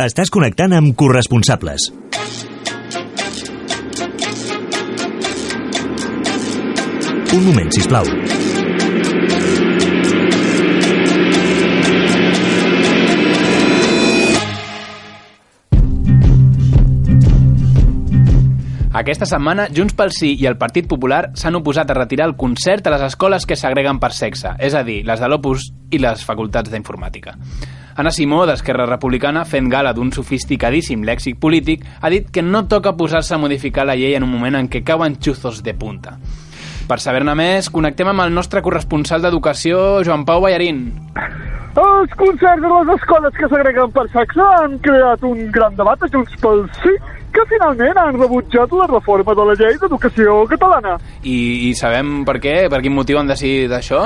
Estàs connectant amb corresponsables. Un moment, si plau. Aquesta setmana, Junts pel Sí i el Partit Popular s'han oposat a retirar el concert a les escoles que s'agreguen per sexe, és a dir, les de l'Opus i les facultats d'informàtica. Anna Simó, d'Esquerra Republicana, fent gala d'un sofisticadíssim lèxic polític, ha dit que no toca posar-se a modificar la llei en un moment en què cauen xuzos de punta. Per saber-ne més, connectem amb el nostre corresponsal d'Educació, Joan Pau Ballarín. Els concerts de les escoles que s'agreguen per sexe han creat un gran debat a Junts pel Sí que finalment han rebutjat la reforma de la llei d'educació catalana. I, I sabem per què? Per quin motiu han decidit això?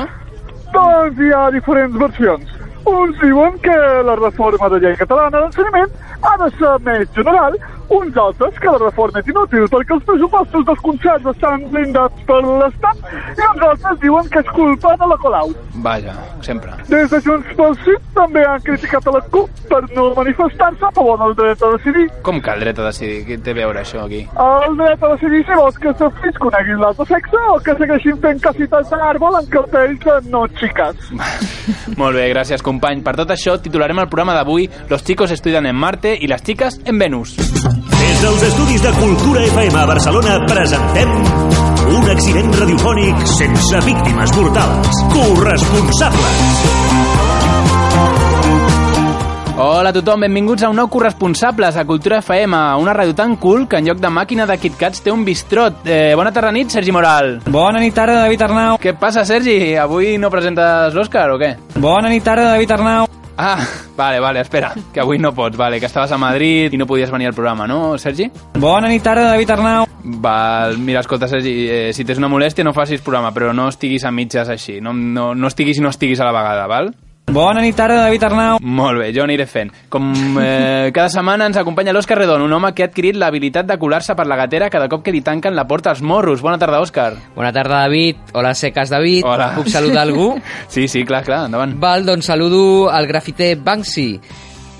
Doncs hi ha diferents versions. Uns diuen que la reforma de llei catalana d'ensenyament ha de ser més general, uns altres que la reforma és inútil perquè els pressupostos dels concerts estan blindats per l'Estat i uns altres diuen que és culpa de la Colau. Vaja, sempre. Des de Junts pel Sí també han criticat a la CUP per no manifestar-se a favor del dret a decidir. Com que el dret a decidir? Què té a veure això aquí? El dret a decidir si vols que els seus fills coneguin l'altre sexe o que segueixin fent casites d'àrbol en cartells de no xiques. Molt bé, gràcies company. Per tot això titularem el programa d'avui Los chicos estudian en Marte i les chicas en Venus. Des dels estudis de Cultura FM a Barcelona presentem un accident radiofònic sense víctimes mortals. Corresponsables. Hola a tothom, benvinguts a un nou Corresponsables a Cultura FM, una ràdio tan cool que en lloc de màquina de KitKats té un bistrot. Eh, bona tarda nit, Sergi Moral. Bona nit, tarda, David Arnau. Què passa, Sergi? Avui no presentes l'Òscar o què? Bona nit, tarda, David Arnau. Ah, vale, vale, espera, que avui no pots, vale, que estaves a Madrid i no podies venir al programa, no, Sergi? Bona nit, tarda, David Arnau. Val, mira, escolta, Sergi, eh, si tens una molèstia no facis programa, però no estiguis a mitges així, no, no, no estiguis i no estiguis a la vegada, val? Bona nit, tarda, David Arnau. Molt bé, jo aniré fent. Com eh, cada setmana ens acompanya l'Òscar Redon, un home que ha adquirit l'habilitat de colar-se per la gatera cada cop que li tanquen la porta als morros. Bona tarda, Òscar. Bona tarda, David. Hola, seques, David. Hola. Puc saludar algú? Sí, sí, clar, clar, endavant. Val, doncs saludo el grafiter Banksy.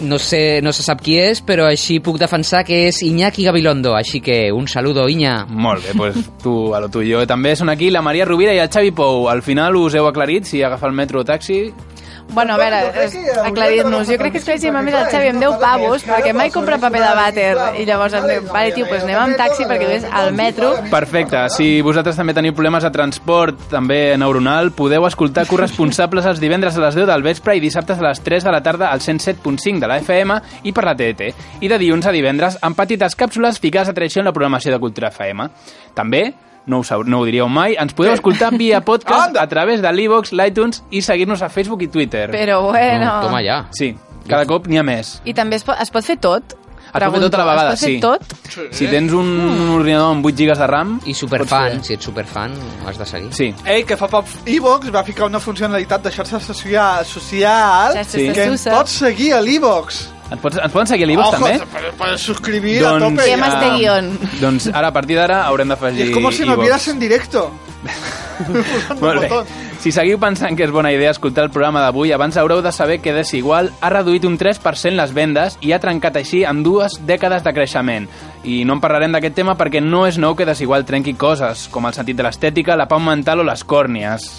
No sé, no se sap qui és, però així puc defensar que és Iñaki Gabilondo. Així que un saludo, Iña. Molt bé, doncs tu, a lo tu i jo també són aquí la Maria Rovira i el Xavi Pou. Al final us heu aclarit si agafar el metro o taxi. Bueno, a veure, és- aclarir-nos. Jo crec que és claríssim, a més, el Xavi em deu pavos perquè mai compra paper de vàter i llavors em diu, vale, tio, pues anem amb taxi perquè ves al metro. Perfecte, si vosaltres també teniu problemes de transport, també neuronal, podeu escoltar corresponsables els divendres a les 10 del vespre i dissabtes a les 3 de la tarda al 107.5 de la FM i per la TDT, i de dilluns a divendres amb petites càpsules ficades a traïció en la programació de Cultura FM. També, no ho, sab- no ho diríeu mai, ens podeu escoltar via podcast a través de l'Evox, l'iTunes i seguir-nos a Facebook i Twitter. Però bueno... Toma ja. Sí, cada cop n'hi ha més. I també es pot, es pot fer tot? Es pot fer tot a la vegada, es pot fer sí. tot? Si tens un, un Hmm. ordinador amb 8 gigas de RAM... I superfan, si ets superfan, ho has de seguir. Sí. Ei, que fa poc Evox va ficar una funcionalitat de xarxa social, social Xarxes Sí. de que ens Susa. pots seguir a l'Evox. Ens, pots, ens poden seguir a l'Ivox, també? Ah, Per, per subscribir doncs, a tope. Temes ja. de guión. Doncs ara, a partir d'ara, haurem I d'afegir és com si iVox. me vieras en directo. Molt bé. botón. Si seguiu pensant que és bona idea escoltar el programa d'avui, abans haureu de saber que Desigual ha reduït un 3% les vendes i ha trencat així amb dues dècades de creixement. I no en parlarem d'aquest tema perquè no és nou que Desigual trenqui coses, com el sentit de l'estètica, la pau mental o les còrnies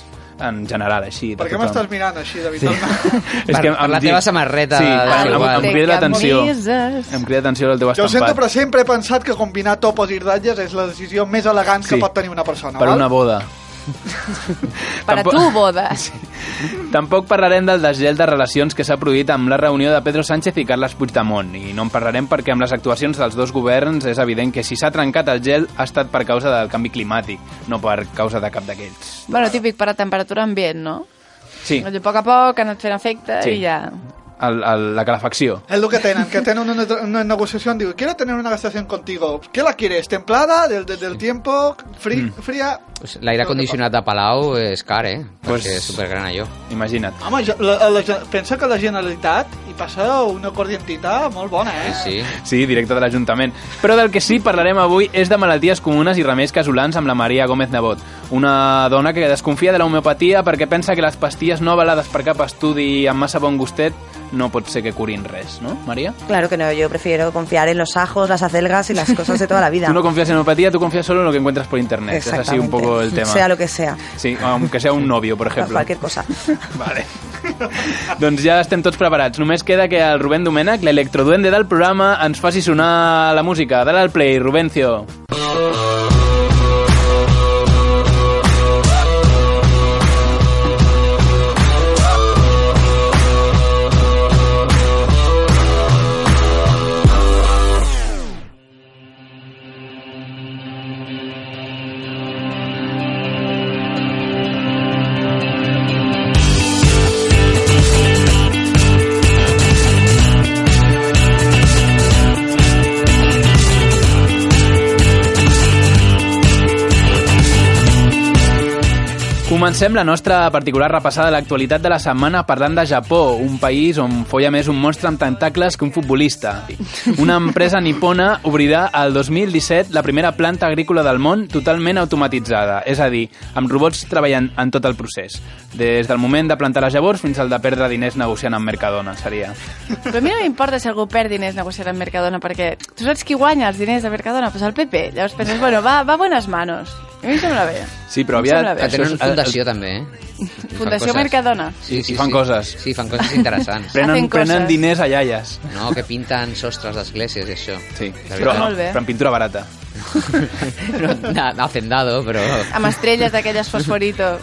en general, així. de Per què tothom. m'estàs mirant així, David? Sí. Sí. És que Per- per em la dic- teva samarreta Sí, de em, em, Desigual. em crida l'atenció. Camises. Em crida l'atenció el teu Jo estampat. sempre, però sempre he pensat que combinar topos i ratlles és la decisió més elegant Sí. que pot tenir una persona. Per val? una boda. Per a Tampoc- tu, boda. Tampoc parlarem del desgel de relacions que s'ha produït amb la reunió de Pedro Sánchez i Carles Puigdemont, i no en parlarem perquè amb les actuacions dels dos governs és evident que si s'ha trencat el gel ha estat per causa del canvi climàtic, no per causa de cap d'aquells. Bueno, típic per a temperatura ambient, no? Sí, Allò, a poc a poc, ha anat fent efecte Sí. i ja... el, el, la calefacció. Es lo que tienen, que tienen una, una negociación. Digo, quiero tener una gastación contigo. ¿Qué la quieres? ¿Templada? ¿Del, del, del tiempo? Fri- Mm. ¿Fría? Pues l'aire condicionat de Palau és car, eh? Pues- Perquè és supergran allò. Imagina't. Home, jo, la, la, la- pensa que la Generalitat hi passa una cordientitat molt bona, eh? Sí, sí. Sí, directe de l'Ajuntament. Però del que sí parlarem avui és de malalties comunes i remeis casolans amb la Maria Gómez Nebot, una dona que desconfia de la homeopatia perquè pensa que les pastilles no avalades per cap estudi amb massa bon gustet no pot ser que curin res, no, Maria? Claro que no, yo prefiero confiar en los ajos, las acelgas y las cosas de toda la vida. Tú no confías en homeopatía, tú confías solo en lo que encuentras por internet. Es así un poco el tema. Sea lo que sea, Sí, aunque sea un novio, por ejemplo. cualquier cosa. Vale. doncs ja estem tots preparats. Només queda que el Rubén Domènech, l'electroduende del programa, ens faci sonar la música. Dale al play, Rubencio. Comencem la nostra particular repassada de l'actualitat de la setmana parlant de Japó, un país on folla més un monstre amb tentacles que un futbolista. Una empresa nipona obrirà el 2017 la primera planta agrícola del món totalment automatitzada, és a dir, amb robots treballant en tot el procés. Des del moment de plantar les llavors fins al de perdre diners negociant amb Mercadona, seria. Però a mi no m'importa si algú perd diners negociant amb Mercadona, perquè tu saps qui guanya els diners de Mercadona? Pues el PP. Llavors penses, bueno, va, va a bones manos. A mi em sembla bé. Sí, però Em aviat... sembla bé. Que tenen això és- fundació, també, eh? I fan Fundació coses. Mercadona. I fan coses. Sí, fan coses interessants. Prenen, Hacen prenen coses. diners a iaies. No, que pinten sostres d'esglésies i això. Sí, La però, Molt bé. però en pintura barata. veritat. No, hacendado, però... Amb estrelles d'aquelles fosforito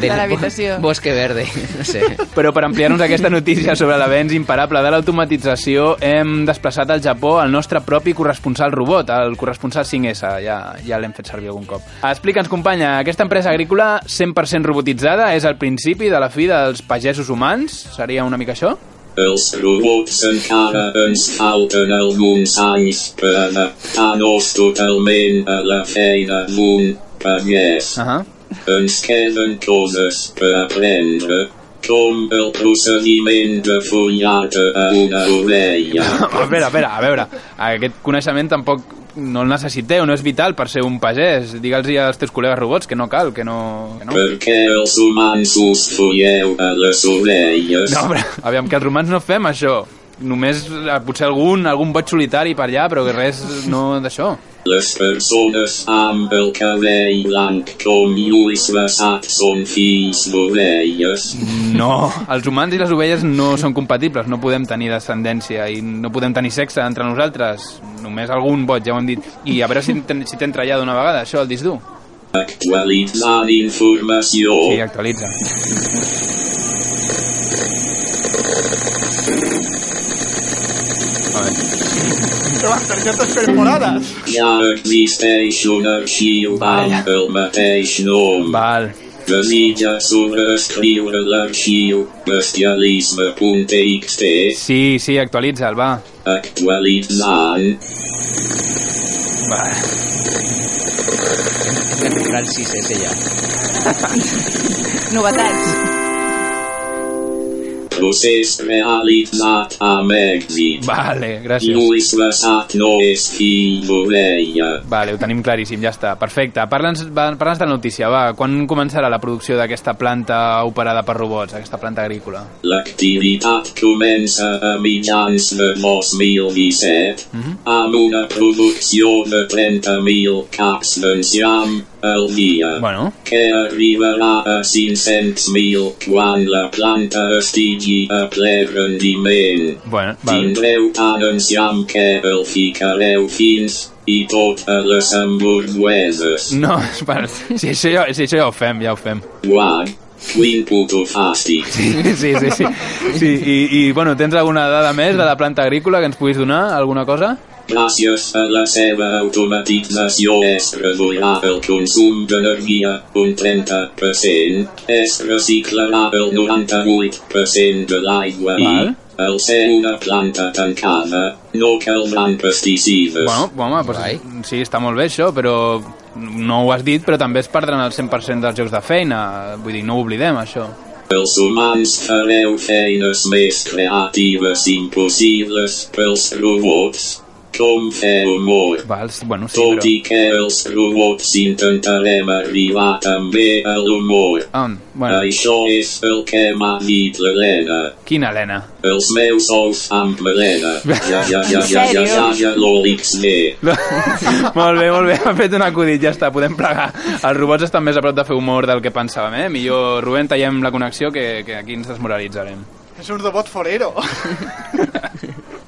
de l'habitació. Bosque verde, no sé. Però per ampliar-nos aquesta notícia sobre l'avenç imparable de l'automatització, hem desplaçat al Japó el nostre propi corresponsal robot, el corresponsal 5S, ja, ja l'hem fet servir algun cop. Explica'ns, companya, aquesta empresa agrícola 100% robotitzada és el principi de la fi dels pagesos humans? Seria una mica això? Els robots encara ens falten alguns anys per adaptar-nos totalment a la feina d'un pagès. Uh -huh. Ens queden coses per aprendre, com el procediment de follat a una orella. Espera, espera, a veure, aquest coneixement tampoc no el necessiteu, no és vital per ser un pagès. Digue'ls als teus col·legues robots que no cal, que no... Que no. Perquè els humans us folleu a les orelles. No, però, aviam, que els romans no fem això. Només, eh, potser algun, algun boig solitari per allà, però que res no d'això. Les persones amb el cabell blanc com Lluís Bassat són fills d'orelles. Mm. No. Els humans i les ovelles no són compatibles, no podem tenir descendència i no podem tenir sexe entre nosaltres. Només algun boig, ja ho hem dit. I a veure si t'en- si t'entra ja d'una vegada, això, el disc dur. Actualitzant informació. Sí, actualitza. A veure. Però les targetes perforades. Ja existeix un arxiu amb el mateix nom. Val. Desitja sobreescriure l'arxiu bestialisme.txt Sí, sí, actualitza'l, va. actualitzant Va. Gran 6S ja. Novetats. procés realitzat amb èxit. Vale, gràcies. Lluís Bassat no és fill d'orella. Vale, ho tenim claríssim, ja està. Perfecte. Parla'ns va- parla'ns de la notícia, va. Quan començarà la producció d'aquesta planta operada per robots, aquesta planta agrícola? L'activitat comença a mitjans de 2017 amb una producció de 30.000 caps d'enciam al dia, Bueno, que arribarà a 500.000 quan la planta estigui a ple rendiment. bueno, val. Tindreu tant enciam que el ficareu fins i tot a les hamburgueses. No, espera, si això, ja, si això ja ho fem, ja ho fem. Guai, quin puto fàstic. Sí, sí, sí. sí i, I, bueno, tens alguna dada més de la planta agrícola que ens puguis donar? Alguna cosa? Gràcies a la seva automatització es reduirà el consum d'energia un 30%, es reciclarà el 98% de l'aigua i, Val. el ser una planta tancada no caldran pesticides. Bueno, home, doncs, sí, està molt bé això, però no ho has dit, però també es perdran el 100% dels llocs de feina. Vull dir, no ho oblidem, això. Els humans fareu feines més creatives impossibles pels robots. Com fer humor. Vals, bueno, sí, Tot però... i que els robots intentarem arribar també a l'humor. Ah, bueno. Això és el que m'ha dit l'Helena. Quina Helena? Els meus ous amb melena. Ja, ja, ja, ja, ja, ja, ja, l'Olix ve. molt bé, molt bé, ha fet un acudit, ja està, podem plegar. Els robots estan més a prop de fer humor del que pensàvem, eh? Millor, Rubén, tallem la connexió que, que aquí ens desmoralitzarem. És un robot forero.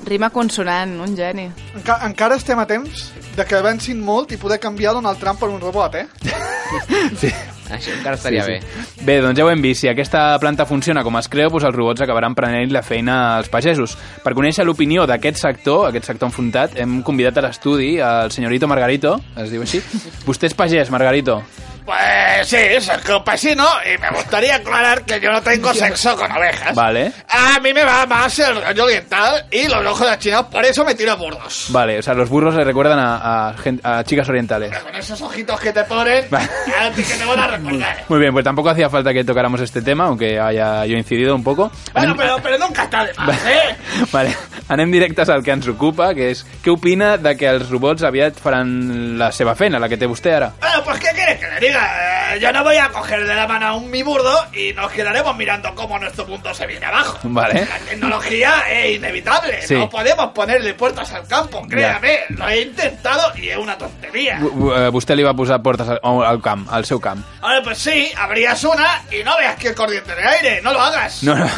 Rima consonant, un geni. Enca encara estem a temps de que avancin molt i poder canviar Donald Trump per un robot, eh? Això encara estaria Sí, sí, sí. sí. bé. Bé, doncs ja ho hem vist. Si aquesta planta funciona com es creu, doncs els robots acabaran prenent la feina als pagesos. Per conèixer l'opinió d'aquest sector, aquest sector enfrontat, hem convidat a l'estudi el senyorito Margarito, es diu així. Vostè és pagès, Margarito. Pues sí, soy campesino y me gustaría aclarar que yo no tengo sexo con ovejas. Vale. A mí me va más el rollo oriental y los ojos de China, por eso me tiro a burros. Vale, o sea, los burros le recuerdan a, a gen- a chicas orientales. Con esos ojitos que te ponen, a ti que te van a recordar. Muy bien, pues tampoco hacía falta que tocáramos este tema, aunque haya yo incidido un poco. Bueno, pero, pero nunca está de más, ¿eh? Vale, anem directes al que ens ocupa, que és què opina de que els robots aviat faran la seva feina, la que té vostè ara? Bueno, pues ¿qué quieres que le diga? Eh, yo no voy a coger de la mano a un mi burdo y nos quedaremos mirando cómo nuestro mundo se viene abajo. Vale. La tecnología es inevitable. Sí. No podemos ponerle puertas al campo, créame. Lo he intentado y es una tontería. V- v- eh, Vostè li va posar portes al, al camp, al seu camp. Ahora, pues sí, abrías una y no veas que el corriente de aire, no lo hagas. No, no,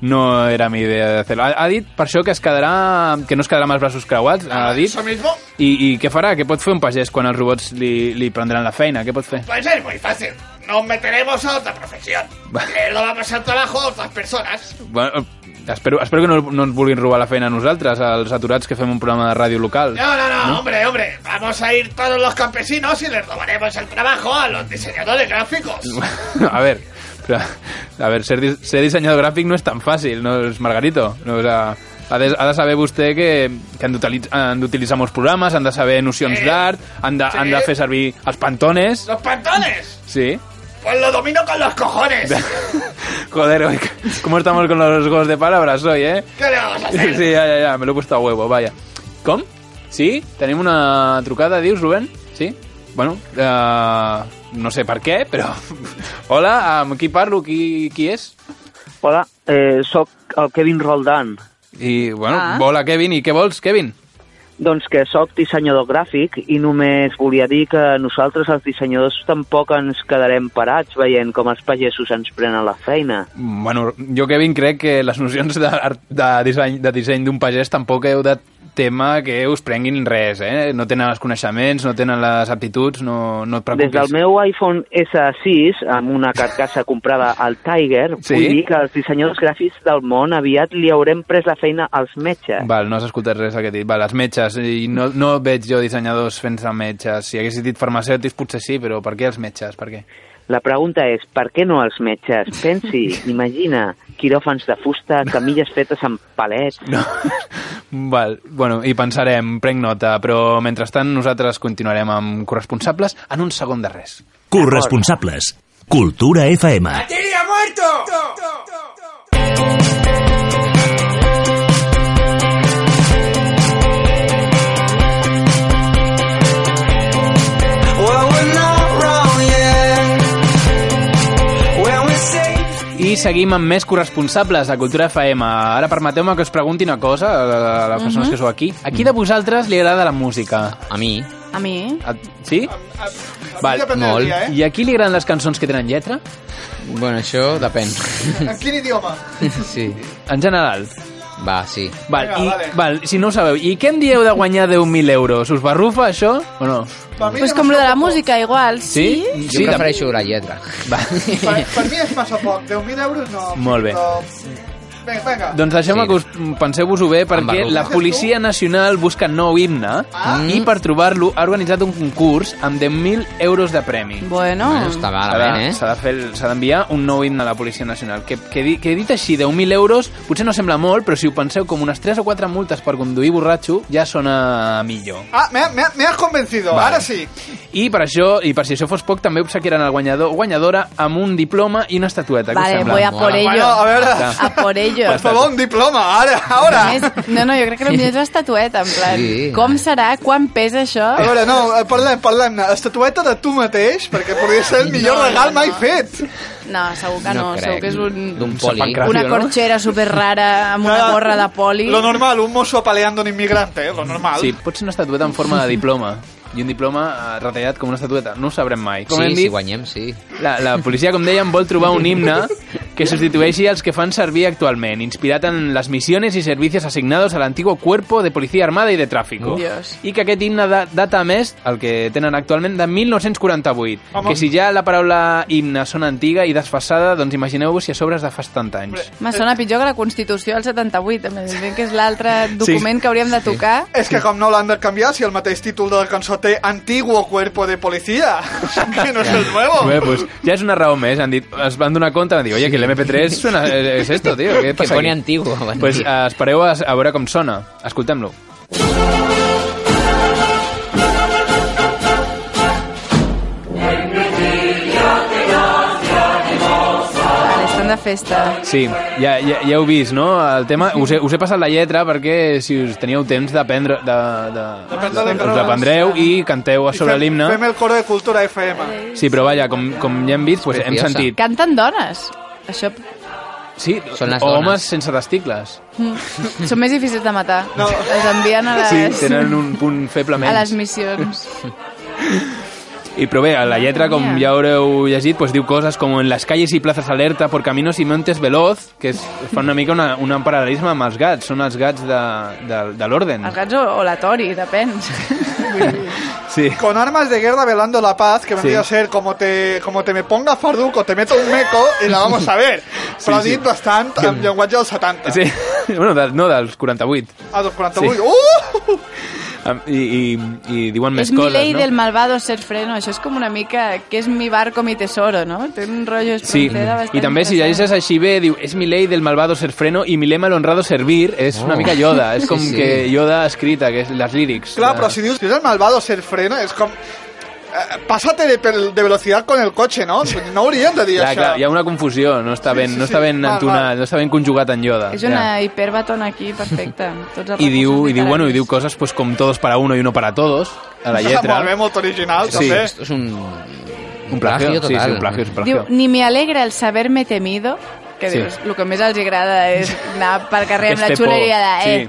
no era mi idea de fer-ho. Ha, ha dit per això que es quedarà, que no es quedarà amb els braços creuats, ha dit. Eso mismo, I, I què farà? Què pot fer un pagès quan els robots li, li prendran la feina? Què pot fer? pues es muy fácil. Nos meteremos a otra profesión. Le damos al trabajo a otras personas. Bueno, espero, espero que no, no ens vulguin robar la feina a nosaltres, als aturats que fem un programa de ràdio local. No, no, no, hombre, hombre. Vamos a ir todos los campesinos y les robaremos el trabajo a los diseñadores gráficos. A ver, pero, a ver, ser, dis- ser diseñador gráfico no es tan fácil, ¿no es Margarito? No, o sea, ha de, ha de saber vostè que, que han d'utilitzar- han d'utilitzar molts programes, han de saber nocions Sí. d'art, han, de, Sí. han de fer servir els pantones, ¡Los pantones! sí. Pues lo domino con los cojones. Joder, hoy, ¿cómo estamos con los juegos de palabras hoy, eh? ¿Qué le vamos a hacer? Sí, ya, ya, ya, me lo he puesto a huevo, vaya. ¿Com? Sí? Tenim una trucada, dius, Rubén? Sí? Bueno, eh, no sé per què, però... Hola, amb qui parlo? Qui, qui és? Hola, eh, sóc el Kevin Roldan. I, bueno, Ah. ah. hola, Kevin, i què vols, Kevin? Doncs que sóc dissenyador gràfic i només volia dir que nosaltres, els dissenyadors, tampoc ens quedarem parats veient com els pagesos ens prenen la feina. Bueno, jo, Kevin, crec que les nocions de, de disseny de disseny d'un pagès tampoc heu de tema que us prenguin res, eh? No tenen els coneixements, no tenen les aptituds, no, no Des et preocupis. del meu iPhone S6, amb una carcassa comprada al Tiger, Sí? vull dir que els dissenyadors gràfics del món aviat li haurem pres la feina als metges. Val, no has escoltat res del que he dit. Val, els metges, i no, no veig jo dissenyadors fent-se metges. Si haguessis dit farmacèutics potser sí, però per què els metges? Per què? La pregunta és, per què no els metges? Pensi, imagina, quiròfans de fusta, camilles fetes amb palets... No. Val, bueno, hi pensarem, prenc nota, però mentrestant nosaltres continuarem amb corresponsables en un segon de res. Corresponsables. Cultura FM. ¡Materia muerto! Well, we're not wrong yet. When we say I seguim amb més corresponsables de Cultura FM. Ara permeteu-me que us pregunti una cosa a a les persones Mhm. que sou aquí. A qui de vosaltres li agrada la música? A mi. A mi? A, sí? Val, depèn del Molt. dia, eh? I a qui li agraden les cançons que tenen lletra? Bueno, això depèn. En quin idioma? sí. En general. Va, sí. Val, Vinga, i, vale. val, si no ho sabeu, i què em dieu de guanyar 10.000 euros? Us barrufa això o no? Pues com lo de la música, igual, sí? Sí? Sí, prefereixo la lletra. Va. Per, per mi és massa poc. 10.000 euros no. Molt bé. Però Vinga, vinga. Doncs deixeu-me que us penseu-vos-ho bé perquè Amb el- la Policia Nacional busca nou himne i per trobar-lo ha organitzat un concurs amb 10.000 euros de premi. Bueno. Ah. Bueno, està malament, eh? S'ha de fer el- s'ha d'enviar un nou himne a la Policia Nacional. Que, que, di- que dit així, 10.000 euros, potser no sembla molt, però si ho penseu com unes 3 o 4 multes per conduir borratxo, ja sona millor. Ah, me, me- me has convencido, Vale. ahora sí. I per això, i per si això fos poc, també obsequiaran el guanyador o guanyadora amb un diploma i una estatueta. Què us Vale, sembla? voy a por ello. Bueno, a veure. A por ello. Per favor, un diploma, ara, ara. Només- No, no, jo crec que potser és l'estatueta, en plan, Sí. com serà, quan pesa això? A veure, no, eh, parlem, parlem-ne. Estatueta de tu mateix, perquè podria ser el millor No, no, regal mai no. fet. No, segur que no, No crec. segur que és un, D'un poli. una corxera super rara amb una gorra de poli. Lo normal, un mosso apaleando un inmigrante, eh, lo normal. Sí, pot ser una estatueta en forma de diploma. I un diploma eh, retallat com una estatueta. No ho sabrem mai. Com Sí, hem si dit, guanyem, sí. la, la policia, com dèiem, vol trobar un himne que substitueixi els que fan servir actualment, inspirat en les missiones i servicios asignados al antiguo cuerpo de policía armada i de tráfico. Dios. I que aquest himne da- data a més, el que tenen actualment, de 1948. Home. Que si ja la paraula himne sona antiga i desfassada, doncs imagineu-vos si a sobre és de fa 70 anys. Me sona pitjor que la Constitució del 78, em diuen que és l'altre document que hauríem de tocar. És que com no l'han de canviar si el mateix títol de la cançó té Antiguo Cuerpo de Policía, que no és el Oh! nuevo. Bé, pues, ja és una raó més, han dit, es van donar compte, van dir, oye, que l'MP3 suena, és esto, tío, què passa pone aquí?" antiguo, van Pues dir. eh, espereu a, a veure com sona, escoltem-lo. Vale, estan de festa. Sí, ja, ja, ja heu vist, no? El tema, us he, us he passat la lletra perquè si us teníeu temps d'aprendre, de, de, Depèn de les us l'aprendreu i canteu a sobre Fem- l'himne. Fem el coro de Cultura FM. Sí, però vaja, com, com ja hem vist, pues, hem Preciosa. sentit. Canten dones. Això Sí, Són les homes dones. sense testicles. mm, són més difícils de matar. No. Els envien a les, Sí, tenen un punt feble a menys. les missions. Y pero vea, Ah, la letra, como ya haureu llegit, pues diu cosas como en las calles y plazas alerta, por caminos y montes veloz, que es, fa una mica una, un paral·lelisme amb els gats, són els gats de, de, de l'orden. Els gats o, o la Tori, depèn. Sí. Con armas de guerra velando la paz, que vendría a Sí. ser como te, como te me ponga farduco, te meto un meco y la vamos a ver. Sí, Però sí. dit bastant amb llenguatge dels 70. Sí, bueno, de, no, dels 48. A 248. Sí. Uh! Am- I, i, i diuen més és mi coses, ley no? del malvado ser freno. Això és com una mica que és mi barco, mi tesoro, no? Té un rotllo Sí, espronceda bastant i també si llegeixes així bé, diu, és mi ley del malvado ser freno i mi lema el honrado servir, és una Oh. mica Yoda, és Sí, com sí. que Yoda escrita, que és les lírics. Clar, de- però si dius que és el malvado ser freno, és com... Eh, pásate de, pel- de velocidad con el coche, no? No hauríem de dir Clar, això. clar, hi ha una confusió, no està Sí, ben, sí, no sí. està ben Val, entonat, no està ben conjugat en Yoda. És una hiperbatona aquí, perfecte. Tots els Y diu, recursos i diu, bueno, literaris. i diu coses pues, com todos para uno y uno para todos, a la lletra. Molt bé, molt original, Sí. també. Esto es un... un plagio, plagio sí, sí, total. un plagio, és un Diu, plagio. ni me alegra el saber-me temido, que Sí. dius, el que més els agrada és anar pel carrer amb Este la xuleria de... por. Eh,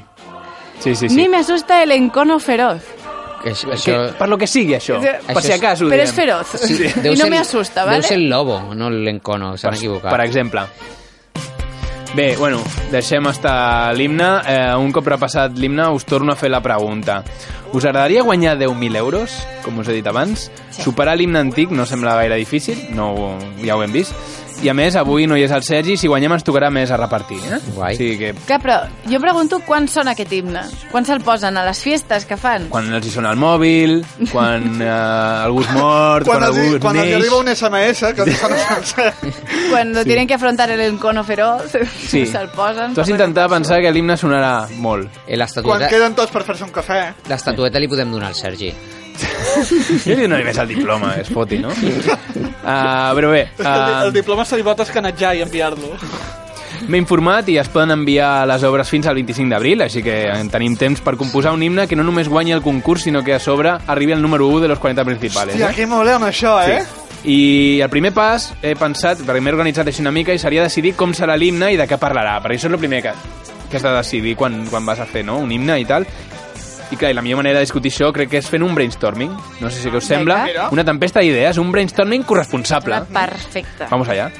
Sí, sí, sí. Ni sí. me asusta el encono feroz. Que, això, això... Per lo que sigui, això. Això Per si acaso ho Però diem. és feroz. Sí, I deu no ser- me asusta, Deu ¿vale? ser el lobo, no l'encono, s'han equivocat. Per exemple. Bé, bueno, deixem estar l'himne. Eh, un cop repassat l'himne, us torno a fer la pregunta. Us agradaria guanyar 10.000 euros, com us he dit abans? Sí. Superar l'himne antic no sembla gaire difícil, no, ho- ja ho hem vist. I a més, avui no hi és el Sergi, si guanyem ens tocarà més a repartir. Eh? Guai. O sigui que Clar, però jo em pregunto quan sona aquest himne. Quan se'l posen? A les fiestes que fan? quan els hi sona el mòbil, quan eh, algú es mort, quan, Quan, els, algú hi- es quan els hi neix... arriba un SMS que els fan sencer. Cuando tienen que afrontar el encono feroz, Sí. se'l posen. Tu has intentat pensar que l'himne sonarà molt. Quan L'estatueta queden tots per fer-se un cafè. l'estatueta li podem donar al Sergi. Jo li donaré més el diploma, es foti, no? Uh, però bé, El, el uh, diploma se li pot escanejar i enviar-lo. m'he informat i es poden enviar les obres fins al 25 d'abril, així que en tenim temps per composar un himne que no només guanyi el concurs, sinó que a sobre arribi al número 1 de los 40 principales. Hòstia, que molt amb això, eh? I el primer pas he pensat, perquè m'he organitzat així una mica, i seria decidir com serà l'himne i de què parlarà, perquè això és el primer que, que has de decidir quan, quan vas a fer no? un himne i tal. I clar, i la millor manera de discutir això crec que és fent un brainstorming. No sé si què us sembla. Vinga. Una tempesta d'idees, un brainstorming corresponsable. Perfecte. Vamos allá.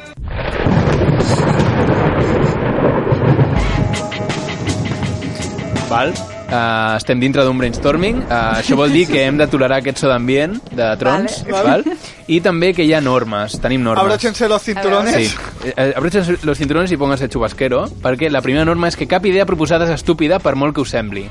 Val. eh, estem dintre d'un brainstorming, eh, això vol dir que hem de tolerar aquest so d'ambient, de trons, Vale. val? i també que hi ha normes, tenim normes. Abróchense los cinturones. Sí. Eh, eh, Abróchense los cinturones i pónganse chubasquero, perquè la primera norma és que cap idea proposada és estúpida per molt que us sembli.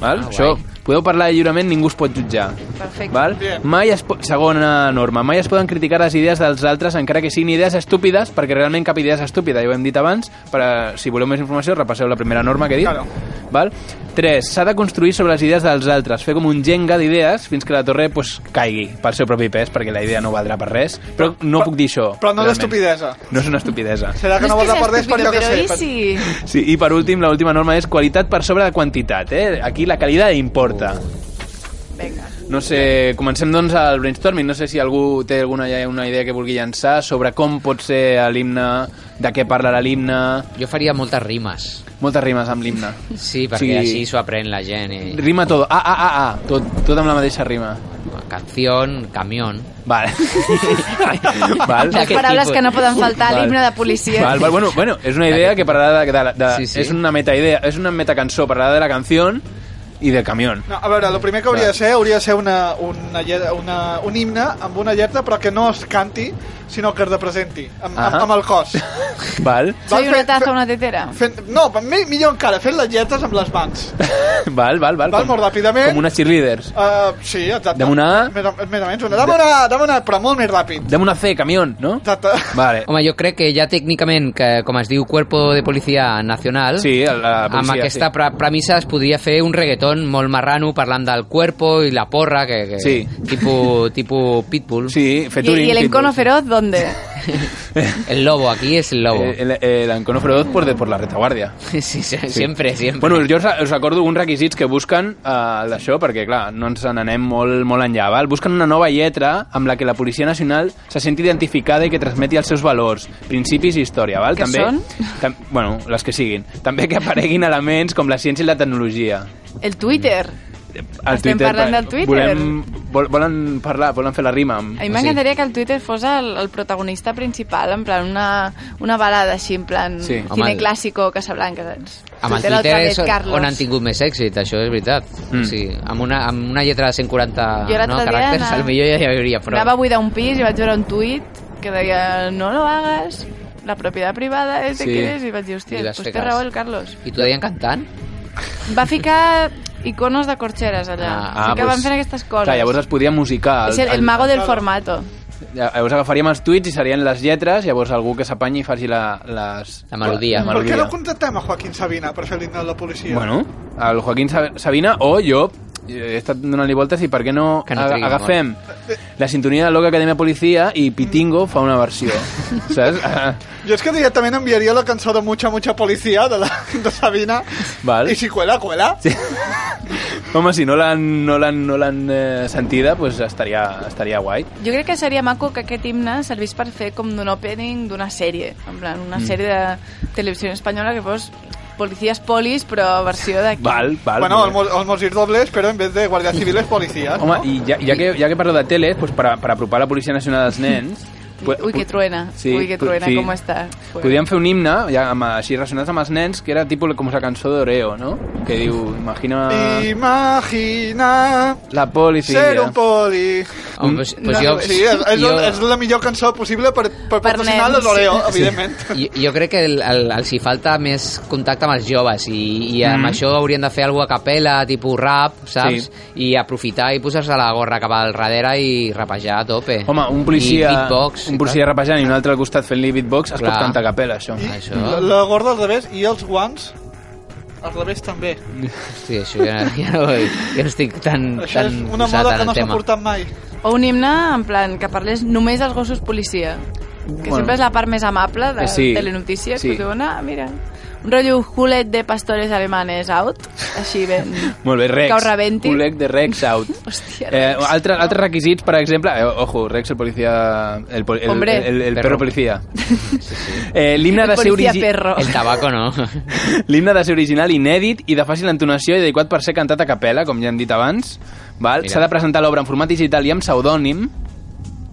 Val? Ah, Això, podeu parlar lliurement, ningú us pot jutjar. Perfecte. Val? Mai es po segona norma, mai es poden criticar les idees dels altres encara que siguin idees estúpides, perquè realment cap idea és estúpida, ja ho hem dit abans, per a, si voleu més informació repasseu la primera norma que he dit. Claro. Val? 3. S'ha de construir sobre les idees dels altres, fer com un jenga d'idees fins que la torre pues, caigui pel seu propi pes, perquè la idea no valdrà per res, però no puc dir això. Però no realment. d'estupidesa. No és una estupidesa. Serà que no, vols apordés per allò que sé. Però i si... Sí, i per últim, la última norma és qualitat per sobre de quantitat, eh? Aquí la qualitat importa. Vinga. No sé, comencem doncs el brainstorming. No sé si algú té alguna una idea que vulgui llançar sobre com pot ser l'himne, de què parlarà l'himne... Jo faria moltes rimes. Moltes rimes amb l'himne. Sí, perquè així s'ho aprèn la gent. I... Rima todo. Ah, ah, ah, ah. Tot, tot amb la mateixa rima. Canción, camión... Vale. Val. Les paraules que no poden faltar a l'himne de policia. Val, val, bueno, bueno, és una idea que parlarà de... de, de sí, sí. És una metaidea, és una metacançó, parlarà de la canció i del camión. No, a veure, el primer que hauria de ser hauria de ser una, una, lle- una, un himne amb una lletra però que no es canti, sinó que es representi amb, amb, Ahà. amb el cos. Val? Soy una taza, una tetera. Fent, no, per mi, millor encara, fent les lletres amb les mans. Val, val, val. Val, molt ràpidament. Com unes cheerleaders. Uh, sí, exacte. Dame una A. Més, o- més o menys una. Dame una, dame una, però molt més ràpid. Dame una C, camión, no? Exacte. Vale. Home, jo crec que ja tècnicament, que, com es diu Cuerpo de Policia Nacional, Sí, la policia, amb aquesta sí. pre premissa es podria fer un reggaeton molt marrano parlant del cuerpo i la porra, que, que Sí. tipo, tipo Pitbull. Sí, I, I el encono feroz, ¿dónde? El lobo, aquí es el lobo. Eh, El, el Ancono Feroz por, de, por la retaguardia. Sí, sí, sempre, sempre. Bueno, jo us, us recordo uns requisits que busquen eh, d'això, perquè, clar, no ens n'anem molt, molt enllà, val? Busquen una nova lletra amb la que la Policia Nacional se senti identificada i que transmeti els seus valors, principis i història, val? Que són? Tam, bueno, les que siguin. També que apareguin elements com la ciència i la tecnologia. El Twitter. El Estem parlant del Twitter. Volem, vol, volen parlar, volen fer la rima. Amb, A mi m'encantaria que el Twitter fos el, el protagonista principal, en plan una, una balada així, en plan Sí. sí. Home, cine el- clàssico que sabran que és... amb el Twitter el Twitter Javier és on- Carlos. on han tingut més èxit, això és veritat. Mm. Sí, amb, una, amb una lletra de 140 Jo l'altre no, dia caràcters, anava- al millor ja hi hauria prou. Anava a buidar un pis i vaig veure un tuit que deia no lo hagas, la propietat privada és de Sí. qui és, i vaig dir, I hòstia, vas pues fer té cas. raó el Carlos. I t'ho deien cantant? Va ficar iconos de corxeres allà. Ah, ah, que van fent aquestes coses. Clar, llavors es podia musicar. és el, el mago del formato. Llavors agafaríem els tuits i serien les lletres, llavors algú que s'apanyi i faci la, les... la melodia. La Per què melodia. no contractem a Joaquín Sabina per fer l'himne de la policia? Bueno, el Joaquín Sa- Sabina o jo eh, he estat donant-li voltes i per què no, no aga- trigui agafem la sintonia de Loca Acadèmia Policia i Pitingo fa una versió, saps? Ah, Jo és que directament enviaria la cançó de Mucha Mucha Policia de, la, de Sabina Val. i si cuela, cuela. Sí. Home, si no l'han no l'han- no l'han, eh, sentida, pues estaria, estaria guai. Jo crec que seria maco que aquest himne servís per fer com d'un opening d'una sèrie, en plan, una Mm. sèrie de televisió espanyola que fos Policies Polis, però versió d'aquí. Val, val. Bueno, molt el, bé. mo- el Mosir Dobles, però en vez de Guàrdia Civil és policia. Home, i ja, ja, que, ja que parlo de tele, pues, per, a- per apropar la Policia Nacional als nens... pu- Ui, que truena, Sí, ui, que pu- truena, sí. com està. Podíem fer un himne, ja amb, així relacionats amb els nens, que era tipus com la cançó d'Oreo, no? Que diu, imagina... Imagina La policia. ser un poli. Home, pues- pues No, jo- sí, és, és, jo- és la millor cançó possible per, per, patrocinar les Oreo, doncs evidentment. Sí. Jo, jo crec que el, el, els hi falta més contacte amb els joves i, i amb Mm-hmm. Mhm. això haurien de fer alguna a capella, tipus rap, saps? I aprofitar i posar-se la gorra cap al darrere i rapejar a tope. Home, un policia, I beatbox. un policia rapejant i un altre al costat fent-li beatbox, es Clar. pot cantar a capella, això. La, la gorda al revés i els guants al revés també. Sí, això ja, ja, no, ja no estic tan, Això tan és una posat moda en que el no s'ha tema. portat mai. O un himne, en plan, que parlés només dels gossos policia. Que Bueno. sempre és la part més amable de Eh, sí, telenotícies. sí. Sí. Que diuen, ah, mira, un rotllo Julet de pastores alemanes out, així ben... Molt bé, Rex. Que ho rebenti. Col·lec de Rex out. Hòstia, Eh, altres, altres requisits, per exemple... Eh, ojo, Rex, el policia... El, pol- el, el, Hombre. el, el Perro. perro policia. Eh, L'himne ha de El ser policia origi... perro. El tabaco no. L'himne ha de ser original, inèdit i de fàcil entonació i adequat per ser cantat a capella, com ja hem dit abans. Val? Mira. S'ha de presentar l'obra en format digital i amb pseudònim.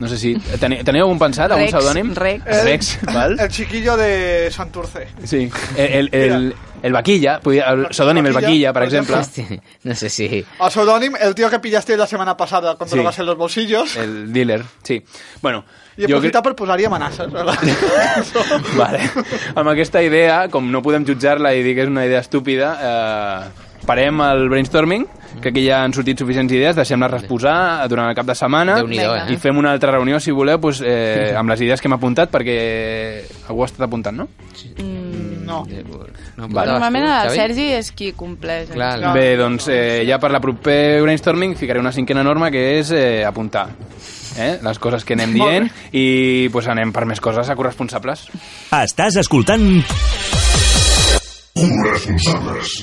No sé si... teni- Teniu algun pensat, algun Rex, pseudònim? Eh, Rex. Eh, Rex, val? El chiquillo de Santurce. Sí. El, el, el, el vaquilla, podria- el pseudònim el vaquilla, per exemple. No sé si... O pseudónimo, el tío que pillaste la semana pasada cuando Sí. lo vas en los bolsillos. El dealer, sí. Bueno, Y jo crec... aprofitar per posar-hi amenaces, ¿verdad? Vale. Amb aquesta idea, com no podem jutjar-la i dir que és una idea estúpida, eh, parem el brainstorming, que aquí ja han sortit suficients idees, deixem-les reposar durant el cap de setmana Déu-n'hi-do, eh? i fem una altra reunió, si voleu, doncs, eh, amb les idees que hem apuntat, perquè algú ha estat apuntant, no? No. no Vale. Normalment el Xavi? Sergi és qui compleix. Clar. Bé, doncs eh, ja per la proper brainstorming ficaré una cinquena norma que és eh, apuntar eh? les coses que anem Molt dient i pues, anem per més coses a corresponsables. Estàs escoltant Corresponsables.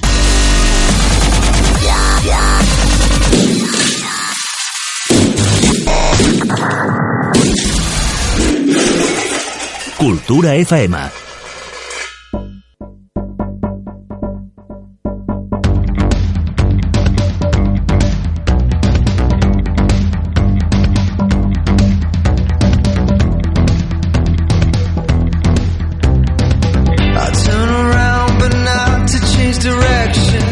Cultura FM. I turn around, but not to change direction.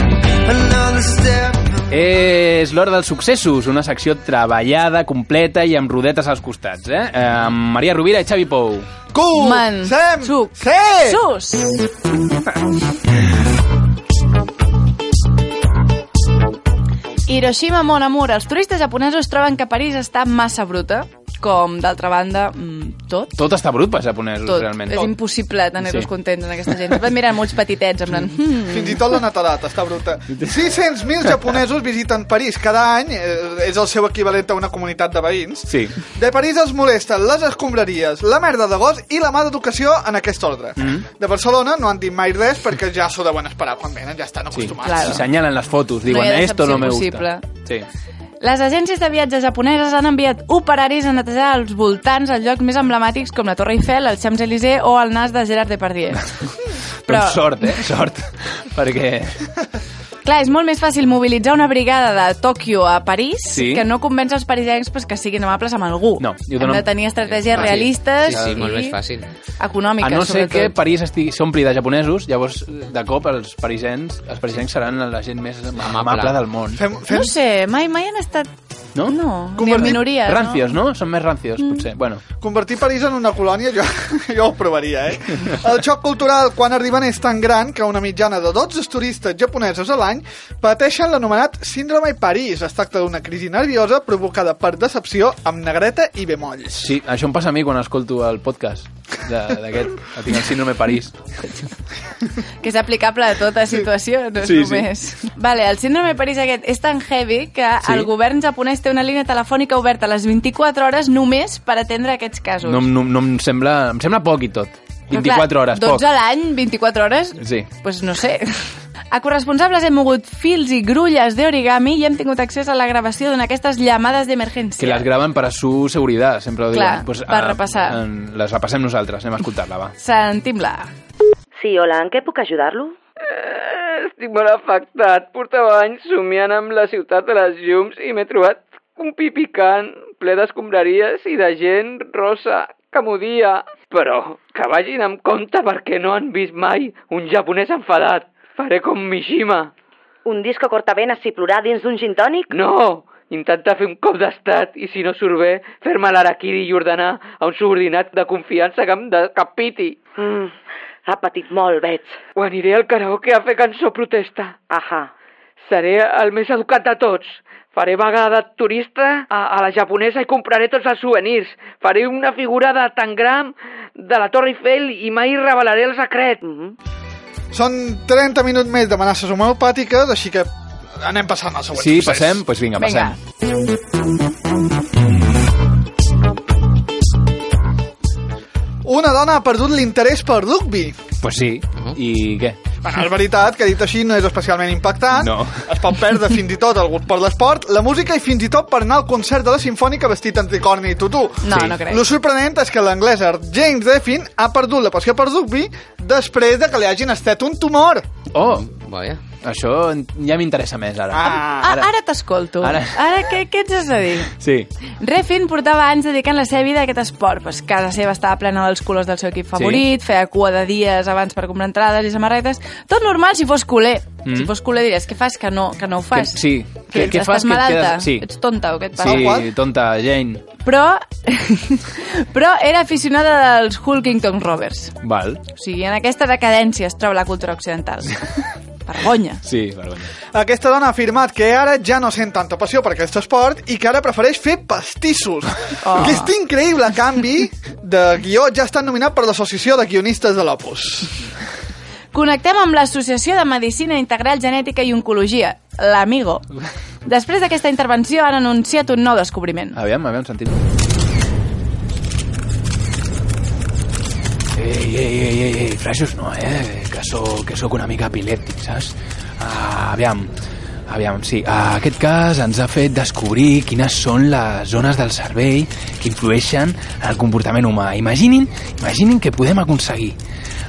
Another step. És l'hora dels successos, una secció treballada, completa i amb rodetes als costats. Eh? Eh, Amb Maria Rovira i Xavi Pou. Cu, Man, sem, suc, se. sus. Hiroshima, Mon Amour. Els turistes japonesos troben que París està massa bruta, com, d'altra banda, mm, tot. Tot està brut per japonesos, Tot. realment. És impossible tenir-los Sí. contents en aquesta gent. Van mirar molts petitets, en plan... Hmm. Fins i tot la Natalat, està bruta. 600.000 japonesos visiten París cada any, eh, és el seu equivalent a una comunitat de veïns. Sí. De París els molesten les escombraries, la merda de gos i la mà d'educació en aquest ordre. Mm-hmm. De Barcelona no han dit mai res perquè ja s'ho deuen esperar quan venen, ja estan Sí. acostumats. Claro. Senyalen les fotos, diuen, No hi ha esto no me decepció gusta. Sí. Les agències de viatges japoneses han enviat operaris a netejar els voltants a llocs més emblemàtics com la Torre Eiffel, el Champs-Élysées o el nas de Gerard Depardieu. Però... Doncs sort, eh? Sort. Perquè... Clar, és molt més fàcil mobilitzar una brigada de Tòquio a París Sí. que no convèncer els parisencs pues, que siguin amables amb algú. No, jo Hem dono- de tenir estratègies Fàcil. realistes Sí, sí, i molt més fàcil. econòmiques, A no ser sobretot. que París estigui- s'ompli de japonesos, llavors de cop els parisens, els parisens seran la gent més amable del món. Fem, No sé, mai, mai han estat... No? No, Mm. ni en minoria. Rancios, no? Són més rancios, potser. Bueno, Convertir París en una colònia jo, jo ho provaria, eh? El xoc cultural quan arriben és tan gran que una mitjana de 12 turistes japonesos a l'any pateixen l'anomenat síndrome París. Es tracta d'una crisi nerviosa provocada per decepció amb negreta i bemolls. sí, això em passa a mi quan escolto el podcast de- d'aquest. El Tinc el síndrome París. Que és aplicable a tota situació, no és Sí, sí, sí. només. Sí. Vale, el síndrome de París aquest és tan heavy que Sí. sí. el govern japonès té una línia telefònica oberta a les 24 hores només per atendre aquests casos. No, no, no em sembla... Em sembla poc i tot. 24 hores, 12 poc. a l'any, 24 hores, Sí. pues no sé. A corresponsables hem mogut fils i grulles d'origami i hem tingut accés a la gravació d'una d'aquestes llamades Que d'emergència. les graven per a su seguretat, sempre ho diuen. Clar, per ah, repassar. En, les repassem nosaltres, anem a escoltar-la, va. Sentim-la. Sí, hola, en què puc ajudar-lo? Eh, Estic molt afectat. Portava anys somiant amb la ciutat de les llums i m'he trobat un pi picant, ple d'escombraries i de gent rosa que m'odia. Però que vagin amb compte perquè no han vist mai un japonès enfadat. Faré com Mishima. Un disco cortavenes i plorar dins d'un gin tònic? No! Intentar fer un cop d'estat i, si no surt bé, fer-me l'araquiri i ordenar a un subordinat de confiança que em decapiti. Mm, ha patit molt, veig. Ho aniré al karaoke a fer cançó protesta. Ahà. Seré el més educat de tots. Faré vaga de turista a, a la japonesa i compraré tots els souvenirs. Faré una figura de tangram de la Torre Eiffel i mai revelaré el secret. Mm -hmm. Són 30 minuts més d'amenaces homeopàtiques, així que anem passant al següent Sí, procés. passem? Doncs pues vinga, passem. Una dona ha perdut l'interès per rugby. Pues sí. I què? Bueno, és veritat que dit així no és especialment impactant. No. Es pot perdre fins i tot el gust per l'esport, la música i fins i tot per anar al concert de la Sinfònica vestit amb tricorni i tutú. No, Sí. no crec. Lo sorprenent és que l'anglesa James Deffin ha perdut la passió per rugby després de que li hagin estat un tumor. Oh, Vaja. Això en- ja m'interessa més, ara. Ah, ara ara t'escolto. Ara, Ara- ara què, què ens has de dir? Sí. Refin portava anys dedicant la seva vida a aquest esport, pues casa seva estava plena dels colors del seu equip favorit, sí. feia cua de dies abans per comprar entrades i samarretes, tot normal si fos culer. Mm. Mm. Si fos culer diries, què fas que no, que no ho Que, fas? sí. Que, que Estàs fas que et malalta? quedes... Sí, Ets tonta o què et passa? sí tonta, Jane. Però, però era aficionada dels Hulkington Rovers. Val. O sigui, en aquesta decadència es troba la cultura occidental. Vergonya. Sí, vergonya. Aquesta dona ha afirmat que ara ja no sent tanta passió per aquest esport i que ara prefereix fer pastissos. Oh. Aquest increïble canvi de guió ja està nominat per l'Associació de Guionistes de l'Opus. Connectem amb l'Associació de Medicina Integral Genètica i Oncologia, l'Amigo. Després d'aquesta intervenció han anunciat un nou descobriment. Aviam, aviam, sentit. Ei, ei, ei, ei, ei, fraixos no, eh? Que sóc, que sóc una mica epilèptic, saps? Ah, aviam, aviam, sí. Ah, aquest cas ens ha fet descobrir quines són les zones del cervell que influeixen en el comportament humà. Imaginin, imaginin que podem aconseguir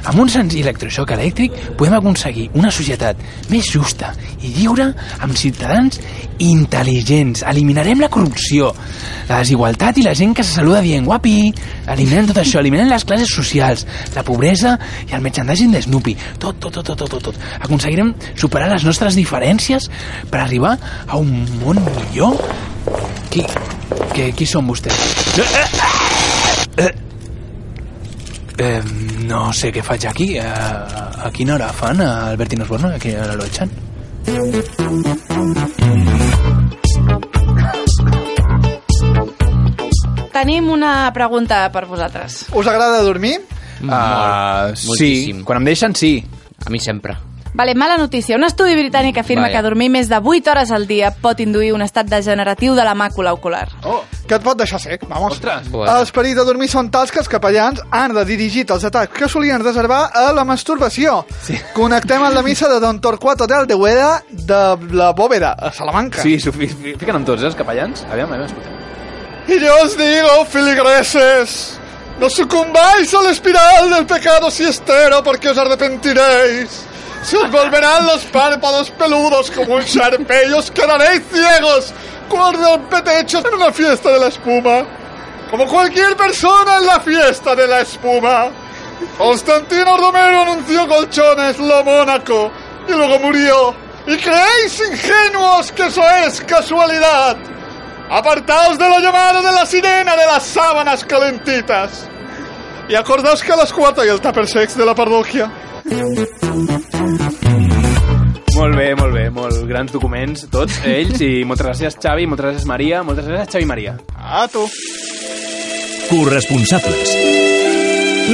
amb un senzill electroxoc elèctric podem aconseguir una societat més justa i lliure amb ciutadans intel·ligents. Eliminarem la corrupció, la desigualtat i la gent que se saluda dient guapi. Eliminem tot això, eliminem les classes socials, la pobresa i el merchandising de Snoopy. Tot, tot, tot, tot, tot, tot, tot. Aconseguirem superar les nostres diferències per arribar a un món millor. Qui, que, qui són vostès? Eh, eh, eh. Eh, no sé què faig aquí. Eh, a quina hora fan eh, a Albertino Osborne? A quina hora lo echan? Mm, Tenim una pregunta per vosaltres. Us agrada dormir? Uh, sí, quan em deixen, sí. A mi sempre. Vale, mala notícia. Un estudi britànic afirma Vaja. que dormir més de 8 hores al dia pot induir un estat degeneratiu de la màcula ocular. Oh. Que et pot deixar ¿Eh? sec, vamos. Ostres. Ah, Bueno. Els perills de dormir són tals que els capellans han de dirigir els atacs que solien reservar a la masturbació. Sí. Connectem amb la missa de Don Torquato del Deueda de la Bóveda, a Salamanca. Sí, s'ho fi- fi- fiquen amb tots, eh, els capellans. Aviam, aviam, escoltem. Y yo os digo, filigreses, no sucumbáis a la espiral del pecado siestero porque os arrepentiréis. Se os volverán los párpados peludos como un charpe y os quedaréis ciegos cual rompetechos en una fiesta de la espuma. Como cualquier persona en la fiesta de la espuma. Constantino Romero anunció colchones lo Mónaco y luego murió. Y creéis ingenuos que eso es casualidad. Apartaos de la llamada de la sirena de las sábanas calentitas. Y acordaos que a las 4 hay el tupper sex de la parroquia. Molt bé, molt bé, molt grans documents, tots ells, i moltes gràcies Xavi, moltes gràcies Maria, moltes gràcies Xavi i Maria. Ah, tu. Corresponsables.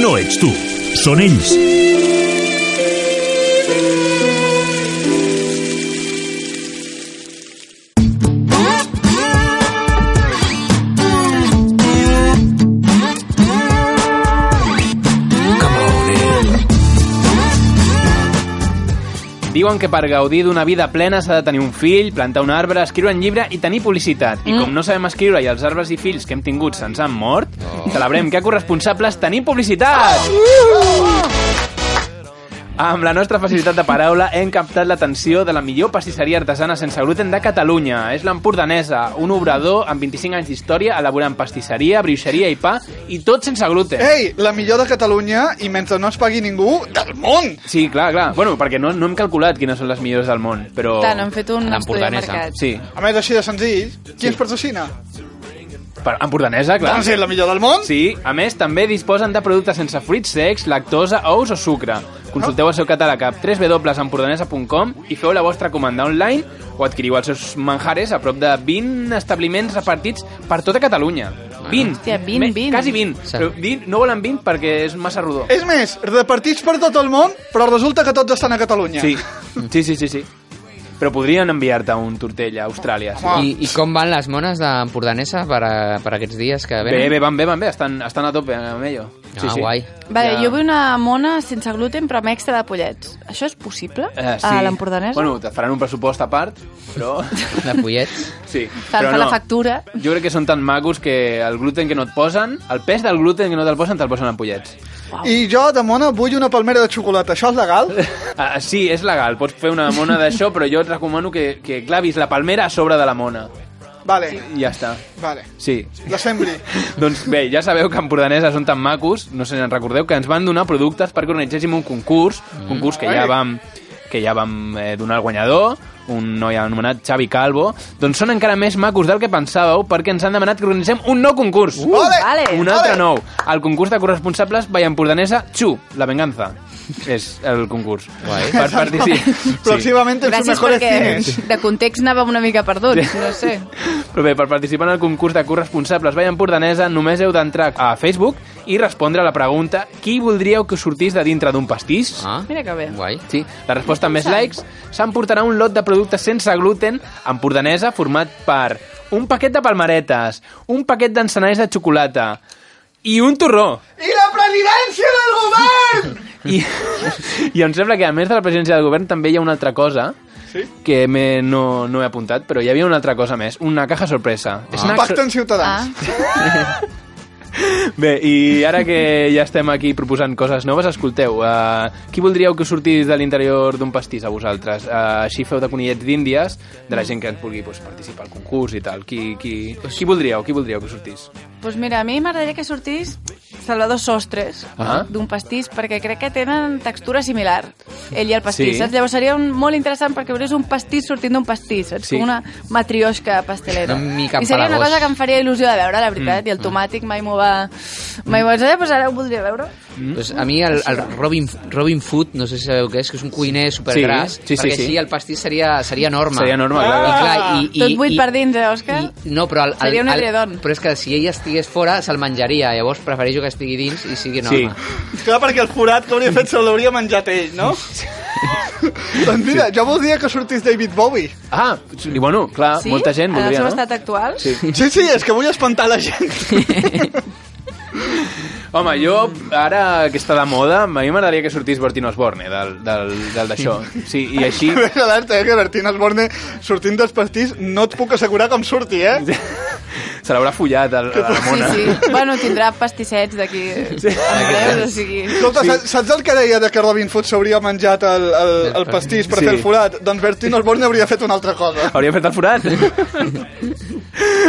No ets tu, són ells. Diuen que per gaudir d'una vida plena s'ha de tenir un fill, plantar un arbre, escriure un llibre i tenir publicitat. I Mm. com no sabem escriure i els arbres i fills que hem tingut se'ns han mort, celebrem que a corresponsables tenim publicitat! Amb la nostra facilitat de paraula hem captat l'atenció de la millor pastisseria artesana sense gluten de Catalunya. És l'Empordanesa, un obrador amb 25 anys d'història elaborant pastisseria, bruixeria i pa, i tot sense gluten. Ei, la millor de Catalunya i mentre no es pagui ningú, del món! Sí, clar, clar. Bueno, perquè no, no hem calculat quines són les millors del món, però... Tant, han fet un estudi de mercat. Sí. A més, així de senzill, qui ens patrocina? Per, empordanesa, clar. Doncs és la millor del món. Sí, a més, també disposen de productes sense fruits secs, lactosa, ous o sucre. Consulteu el seu catàleg a www.empordanesa.com i feu la vostra comanda online o adquiriu els seus manjares a prop de 20 establiments repartits per tota Catalunya. Ah. 20. Hòstia, 20, 20. Quasi 20. Però 20, no volen 20 perquè és massa rodó. És més, repartits per tot el món, però resulta que tots estan a Catalunya. Sí, sí, sí, sí. sí. Però podrien enviar-te un tortell a Austràlia. Sí. I, I com van les mones d'Empordanesa per, a, per aquests dies que Bé, venen? bé, van bé, van bé, estan, estan a tope amb ello. Sí, Ah, sí. guai. Vale, jo vull una mona sense gluten però amb extra de pollets. Això és possible? Eh, sí. A l'Empordanesa? Bueno, te faran un pressupost a part, però... De pollets. Sí, Fan, però fan no. la factura. Jo crec que són tan macos que el gluten que no et posen, el pes del gluten que no te'l posen, te'l posen en pollets. I jo, de mona, vull una palmera de xocolata. Això és legal? Ah, sí, és legal, pots fer una mona d'això, però jo et recomano que, que clavis la palmera a sobre de la mona. Vale, I ja està. vale. Sí. La sembri. Doncs bé, ja sabeu que empordaneses són tan macos, no sé si en recordeu, que ens van donar productes perquè organitzéssim un concurs, mm. concurs que ja Ai. vam, que ja vam eh, donar al guanyador, un noi anomenat Xavi Calvo, doncs són encara més macos del que pensàveu perquè ens han demanat que organitzem un nou concurs. Uh, Vale. un altre nou. El concurs de corresponsables Vall Empordanesa, Xu, la venganza. És el concurs. Guai. Per participar. Pròximament tens Gràcies mejores perquè cines. de context anàvem una mica perduts, no sé. Però bé, per participar en el concurs de corresponsables Vall Empordanesa només heu d'entrar a Facebook i respondre a la pregunta qui voldríeu que us sortís de dintre d'un pastís? Ah, Mira que bé. guai. Sí, la resposta amb més likes s'emportarà un lot de productes sense gluten empordanesa format per un paquet de palmaretes, un paquet d'encenalls de xocolata i un torró. ¡Y la presidencia del gobierno! I, I em sembla que a més de la presidència del govern també hi ha una altra cosa Sí? que me, no, no he apuntat, però hi havia una altra cosa més, una caja sorpresa. Ah. Un pacte en Ciutadans. Ah. Bé, i ara que ja estem aquí proposant coses noves, escolteu, uh, qui voldríeu que sortís de l'interior d'un pastís a vosaltres? Uh, així feu de conillets d'índies, de la gent que ens vulgui pues, participar al concurs i tal. Qui, qui, qui voldríeu, qui voldríeu que sortís? Pues mira, a mi m'agradaria que sortís Salvador Sostres Ah. d'un pastís perquè crec que tenen textura similar ell i el pastís, Sí. saps? Llavors seria un, molt interessant perquè veuries un pastís sortint d'un pastís saps? Sí. Com una matriosca pastelera Una mica i seria una empalagós. cosa que em faria il·lusió de veure, la veritat Mm. i el tomàtic mai m'ho va mai m'ho va saber, doncs ara ho voldria veure Pues a mi el, el Robin, Robin Food, no sé si sabeu què és, que és un cuiner supergras, Sí, sí, sí, perquè sí. així el pastís seria, seria norma. Seria norma, clar, clar. I, clar i, i, Ah, tot buit i, per dins, eh, Òscar? No, però... El, el, Seria un el- edredon. Però és que si ella estigués fora, se'l menjaria. Llavors prefereixo que estigui dins i sigui Sí. norma. Clar, perquè el forat que hauria fet se l'hauria menjat ell, no? doncs mira, jo voldria que sortís David Bowie. Ah, i bueno, clar, Sí? molta gent En el voldria, seu no? estat actual? Sí. Sí, sí, és que vull espantar la gent. Home, jo, ara que està de moda, a mi m'agradaria que sortís Bertino Osborne del del- del d'això. Sí, i així... Ves alerta, eh, que Bertín Osborne sortint dels pastís no et puc assegurar com surti, eh? Se l'haurà follat el, a la Sí, mona. sí. bueno, tindrà pastissets d'aquí. Sí. O sigui... Escolta, saps- saps el que deia de que Robin Hood s'hauria menjat el, el, el pastís per Sí. sí. fer el forat? Doncs Bertín Osborne hauria fet una altra cosa. Hauria fet el forat.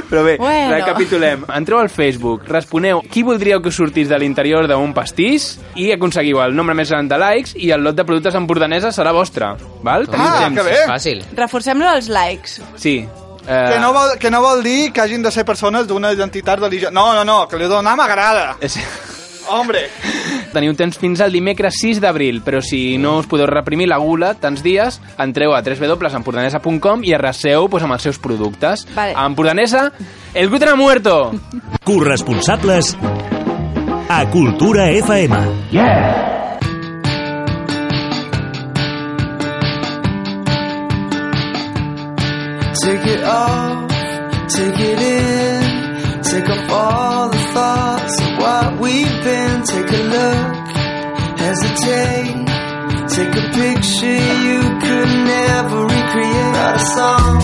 Però bé, Bueno. recapitulem. Entreu al Facebook, responeu qui voldríeu que sortís de l'interior d'un pastís i aconseguiu el nombre més gran de likes i el lot de productes empordaneses serà vostre. Val? Ah, que bé. És fàcil. Reforcem-lo als likes. Sí. Eh, Que no, vol, que no vol dir que hagin de ser persones d'una identitat religiosa. No, no, no, que li donar m'agrada. És... Hombre. Teniu temps fins al dimecres 6 d'abril, però si no us podeu reprimir la gula tants dies, entreu a www.empordanesa.com i arraseu pues, amb els seus productes. Vale. A Empordanesa, el gluten ha muerto! Corresponsables a Cultura FM. Yeah! Take it off, take it in, take off all the thoughts of what we've been. Take a look, hesitate, take a picture you could never recreate. Not a song.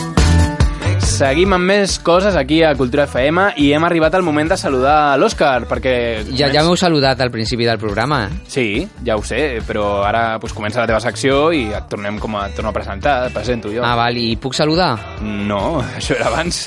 Seguim amb més coses aquí a Cultura FM i hem arribat al moment de saludar l'Òscar, perquè... Ja, ja m'heu saludat al principi del programa. eh? Sí, ja ho sé, però ara pues, comença la teva secció i et tornem com a, et torno a presentar, et presento jo. Ah, val, i puc saludar? No, això era abans.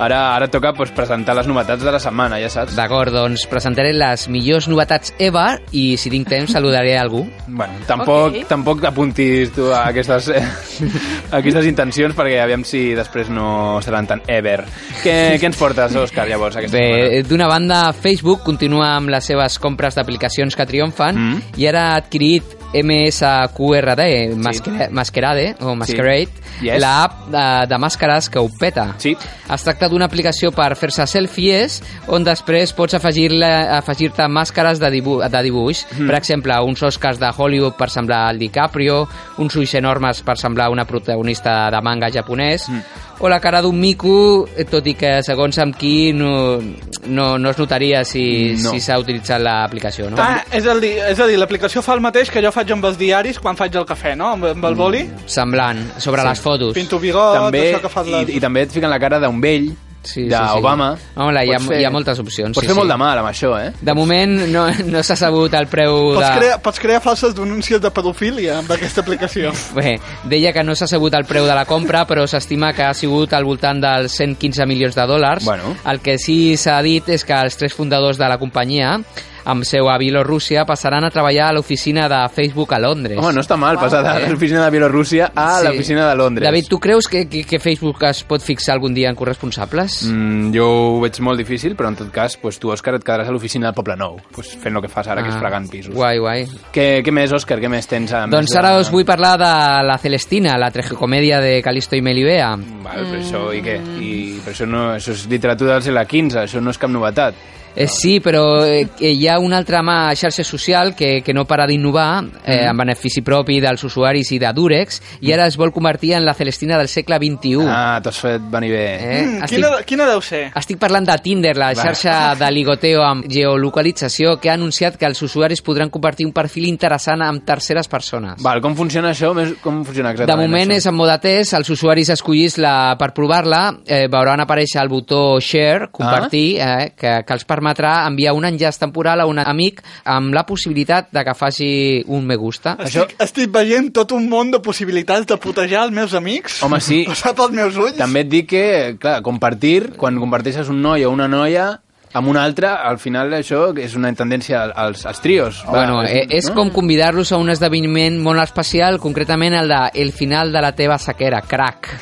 Ara ara toca pues, presentar les novetats de la setmana, ja saps. D'acord, doncs presentaré les millors novetats ever i si tinc temps saludaré algú. Bueno, tampoc, okay. tampoc apuntis tu a aquestes, eh, a aquestes intencions perquè aviam si després no seran tan ever. Què, què ens portes, Òscar, llavors? Aquesta setmana? Bé, d'una banda, Facebook continua amb les seves compres d'aplicacions que triomfen Mm? i ara ha adquirit MSQRD, Masquera- Masquerade, o Masquerade, Yes. la app eh, de, de màscares que ho peta. Sí. Es tracta d'una aplicació per fer-se selfies on després pots afegir-le- afegir-te afegir màscares de, dibu de dibuix. Mhm. Mm. Per exemple, uns Oscars de Hollywood per semblar al DiCaprio, uns ulls enormes per semblar una protagonista de manga japonès, Mhm. o la cara d'un mico, eh, tot i que segons amb qui no, no, no es notaria si No. s'ha si s'ha utilitzat l'aplicació, no? Ah, és a dir, és a dir l'aplicació fa el mateix que jo faig amb els diaris quan faig el cafè, no? Amb, amb el Mm. boli. Semblant, sobre Sí. les fotos. Pinto bigot, també, això que fa la... i, i també et fiquen la cara d'un vell sí, d'Obama. Home, hi ha, Pots fer- hi ha moltes opcions. Pots sí, fer sí. molt de mal amb això, eh? De moment no, no s'ha sabut el preu Pots, de... crear, pots crear falses denúncies de pedofília amb aquesta aplicació. Bé, deia que no s'ha sabut el preu de la compra, però s'estima que ha sigut al voltant dels 115 milions de dòlars. Bueno. El que sí s'ha dit és que els tres fundadors de la companyia, amb seu a Bielorússia, passaran a treballar a l'oficina de Facebook a Londres. Home, no està mal passar de l'oficina de Bielorússia a eh? Sí. l'oficina de Londres. David, tu creus que, que, que Facebook es pot fixar algun dia en corresponsables? Mm, jo ho veig molt difícil, però en tot cas, pues, tu, Òscar, et quedaràs a l'oficina del Poble Nou, pues, fent el que fas ara, que Ah, és fregant pisos. Guai, guai. Què, què més, Òscar? Què més tens? A Doncs més ara de... us vull parlar de La Celestina, la tragicomèdia de Calisto i Melibea. Val, però això, i què? Mm. I, però això, no, això és literatura del segle XV, això no és cap novetat. Eh, sí, però eh, que hi ha una altra mà xarxa social que, que no para d'innovar eh, Mm-hmm. en benefici propi dels usuaris i de Durex i ara es vol convertir en la Celestina del segle XXI. Ah, t'has fet venir bé. Eh? Mm, quina- quina deu ser? Estic parlant de Tinder, la Va. xarxa de ligoteo amb geolocalització que ha anunciat que els usuaris podran compartir un perfil interessant amb terceres persones. Val, com funciona això? Més, com funciona De exactament moment és això? en mode test, els usuaris escollits la, per provar-la eh, veuran aparèixer el botó share, compartir, eh, que, que els permetrà enviar un enllaç temporal a un amic amb la possibilitat de que faci un me gusta. Això... Estic, estic veient tot un món de possibilitats de putejar els meus amics. Home, sí. Ho sap als meus ulls. També et dic que, clar, compartir, quan comparteixes un noi o una noia amb un altre, al final això és una tendència als, als trios. Va, Bueno, eh, és no? com convidar-los a un esdeveniment molt especial, concretament el de el final de la teva sequera, crack.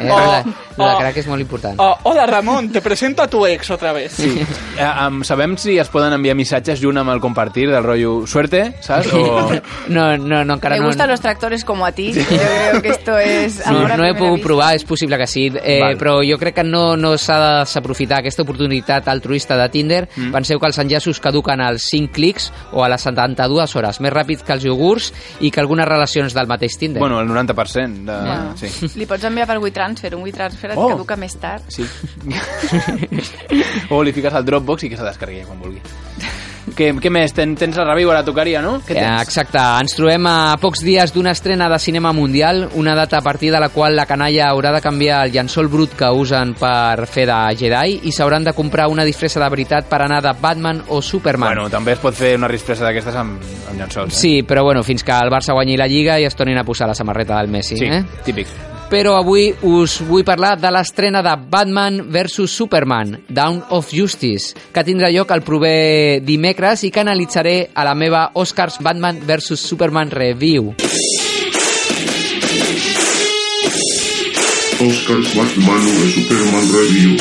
Eh, Oh, oh, la, la oh. crack és molt important. Oh, hola, Ramon, te presento a tu ex otra vez. Sí. Eh, em- sabem si es poden enviar missatges junt amb el compartir del rotllo suerte, saps? O... No, no, no encara Me no, gustan los tractores como a ti. Yo creo que esto es... No, amor a no he primera pogut vista. provar, és possible que sí, eh, Val. però jo crec que no, no s'ha de desaprofitar aquesta oportunitat altruista de Tinder. Mm. Mm. Penseu que els enllaços caduquen als 5 clics o a les 72 hores, més ràpid que els iogurts i que algunes relacions del mateix Tinder. Bueno, el 90% de... Bueno. Ah, Sí. Li pots enviar per WeTransfer, un WeTransfer et Oh. caduca més tard. sí. o li fiques al Dropbox i que se descarregui quan vulgui. Què, què més? Ten, tens la review a la tocaria, no? Eh, Què tens? Exacte, ens trobem a pocs dies d'una estrena de cinema mundial, una data a partir de la qual la canalla haurà de canviar el llençol brut que usen per fer de Jedi i s'hauran de comprar una disfressa de veritat per anar de Batman o Superman. Bueno, també es pot fer una rispresa d'aquestes amb, amb llençols. Eh? Sí, però bueno, fins que el Barça guanyi la Lliga i es tornin a posar la samarreta del Messi, sí eh? típic. Però avui us vull parlar de l'estrena de Batman vs Superman, Down of Justice, que tindrà lloc el proper dimecres i que analitzaré a la meva Oscars Batman vs Superman Review. Oscars Batman de Superman Review.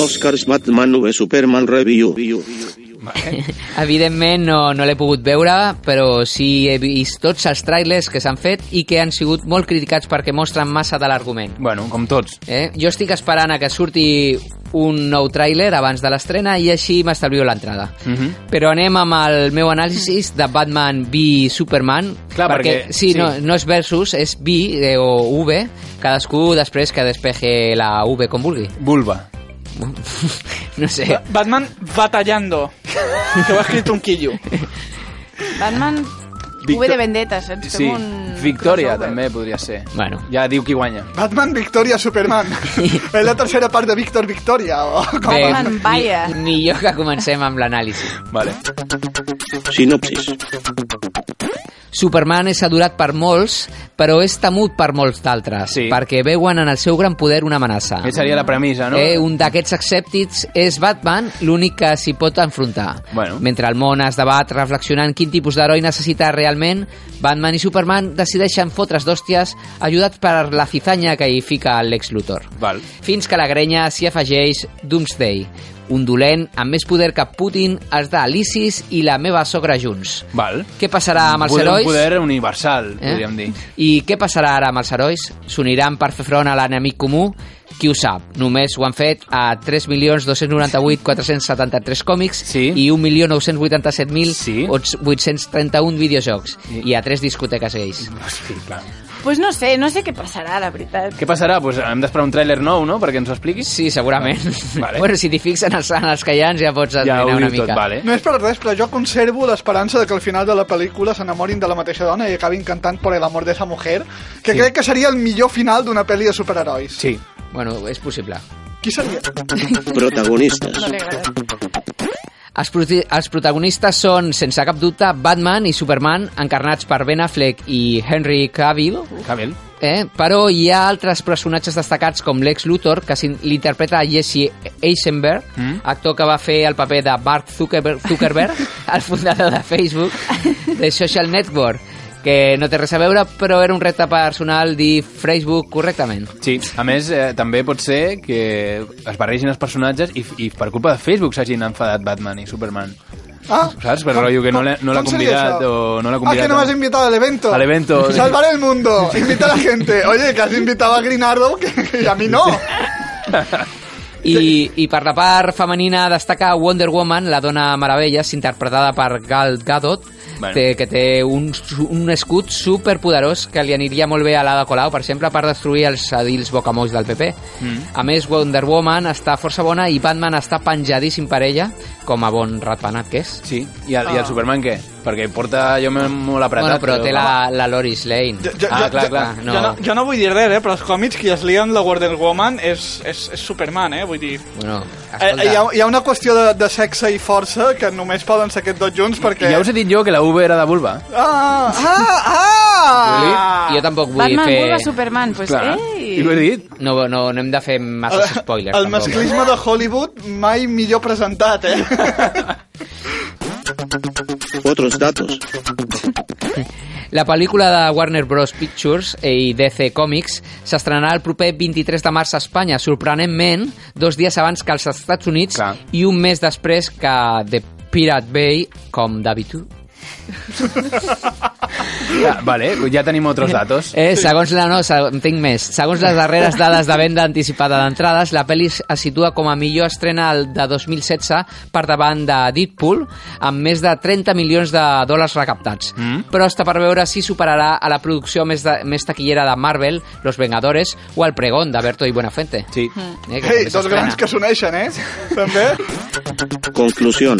Oscars Batman de Superman Review. Evidentment no, no l'he pogut veure, però sí he vist tots els trailers que s'han fet i que han sigut molt criticats perquè mostren massa de l'argument. Bueno, com tots. Eh? Jo estic esperant a que surti un nou tràiler abans de l'estrena i així m'estalvio l'entrada. Mhm. Però anem amb el meu anàlisi de Batman v Superman. Clar, perquè- sí, sí. No, no és versus, és v eh, o v, cadascú després que despeje la v com vulgui. Vulva. No sé. Batman batallando. que ho ha escrit un quillo. Batman... Victor- V de eh? vendetta, saps? Sí, Fem un... Victòria també podria ser. Bueno. Ja diu qui guanya. Batman Victoria Superman. És la tercera part de Victor Victoria. O com Bé, a- mi, millor que comencem amb l'anàlisi. Vale. Sinopsis. Superman és adorat per molts, però és temut per molts d'altres, sí. perquè veuen en el seu gran poder una amenaça. Aquesta seria la premissa, no? Eh, un d'aquests escèptics és Batman, l'únic que s'hi pot enfrontar. Bueno. Mentre el món es debat reflexionant quin tipus d'heroi necessita realment, Batman i Superman decideixen fotre's d'hòsties ajudats per la cizanya que hi fica el Lex Luthor. Val. Fins que a la grenya s'hi afegeix Doomsday, un dolent amb més poder que Putin, els d'Alicis i la meva sogra junts. Val. Què passarà amb els Poder- herois? Un poder universal, Eh? podríem dir. I què passarà ara amb els herois? S'uniran per fer front a l'enemic comú? qui ho sap, només ho han fet a 3.298.473 còmics sí. i 1.987.831 videojocs sí. i a 3 discoteques gais. Hosti, clar. pues no sé, no sé què passarà, la veritat. Què passarà? Pues hem d'esperar un tràiler nou, no?, perquè ens ho expliquis. Sí, segurament. Vale. Bueno, si t'hi fixen els, en els que hi ha, ja pots Ja endevinar ho una diu mica. tot, vale. No és per res, però jo conservo l'esperança de que al final de la pel·lícula s'enamorin de la mateixa dona i acabin cantant Por el amor de esa mujer, que Sí. crec que seria el millor final d'una pel·li de superherois. Sí. Bueno, és possible. Qui seria? Protagonistes. Els, proti- els protagonistes són, sense cap dubte, Batman i Superman, encarnats per Ben Affleck i Henry Cavill. Cavill. Eh? Però hi ha altres personatges destacats com Lex Luthor, que s'in- l'interpreta Jesse Eisenberg, Mm. actor que va fer el paper de Bart Zuckerberg, Zuckerberg el fundador de Facebook, de Social Network, que no té res a veure, però era un repte personal dir Facebook correctament. Sí, a més, eh, també pot ser que es barregin els personatges i, i per culpa de Facebook s'hagin enfadat Batman i Superman. Ah, Saps? Per rotllo que no l'ha no l'ha com seria convidat això? o no l'ha Ah, convidat. que no a- m'has invitado al evento. Al evento. Salvar el mundo. Invita a la gente. Oye, que has invitado a Green Arrow que- i a mi no. I, I per la part femenina destaca Wonder Woman, la dona meravella, interpretada per Gal Gadot, Bueno. bueno. té, que té un, su- un escut superpoderós que li aniria molt bé a l'Ada Colau, per exemple, per destruir els edils bocamolls del PP. Mm. A més, Wonder Woman està força bona i Batman està penjadíssim per ella, com a bon ratpenat que és. Sí, I el, Ah. I el Superman què? Perquè porta jo me- molt apretat. Bueno, però té la, la Loris Lane. Ah, clar, clar. Ah, No. Jo, no, jo no vull dir res, eh, però els còmics qui es lien la Wonder Woman és, és, és Superman, eh? Vull dir... Bueno, Eh, hi, ha, hi ha una qüestió de, de sexe i força que només poden ser aquests dos junts perquè... Ja us he dit jo que la V era de vulva. Ah, ah, ah! Jo tampoc vull Batman, fer... Vulva, Superman, pues, Clar. ei! ho he dit. No, no, no hem de fer massa spoilers. El tampoc. masclisme de Hollywood mai millor presentat, eh? Otros datos. La pel·lícula de Warner Bros. Pictures i DC Comics s'estrenarà el proper 23 de març a Espanya, sorprenentment dos dies abans que als Estats Units Clar. i un mes després que The Pirate Bay, com d'habitud. Ja, vale, ja tenim altres datos. Eh, segons la... No, se- en tinc més. Segons les darreres dades de venda anticipada d'entrades, la pel·li es situa com a millor estrena el de 2016 per davant de Deadpool, amb més de 30 milions de dòlars recaptats. Mm? Però està per veure si superarà a la producció més, de, més taquillera de Marvel, Los Vengadores, o El Pregón, d'Alberto i Buenafuente. Sí. Eh, Ei, dos grans que s'uneixen, eh? També. Conclusión.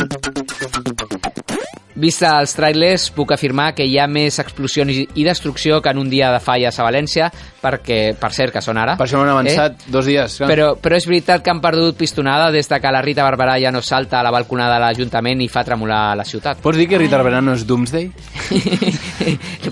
Vista els trailers, puc afirmar que hi ha més explosions i- i destrucció que en un dia de falles a València, perquè, per cert, que són ara. Eh? Per això m'han avançat dos dies. clar. Però, però és veritat que han perdut pistonada des de que la Rita Barberà ja no salta a la balconada de l'Ajuntament i fa tremolar la ciutat. Pots dir que Rita Barberà no és Doomsday?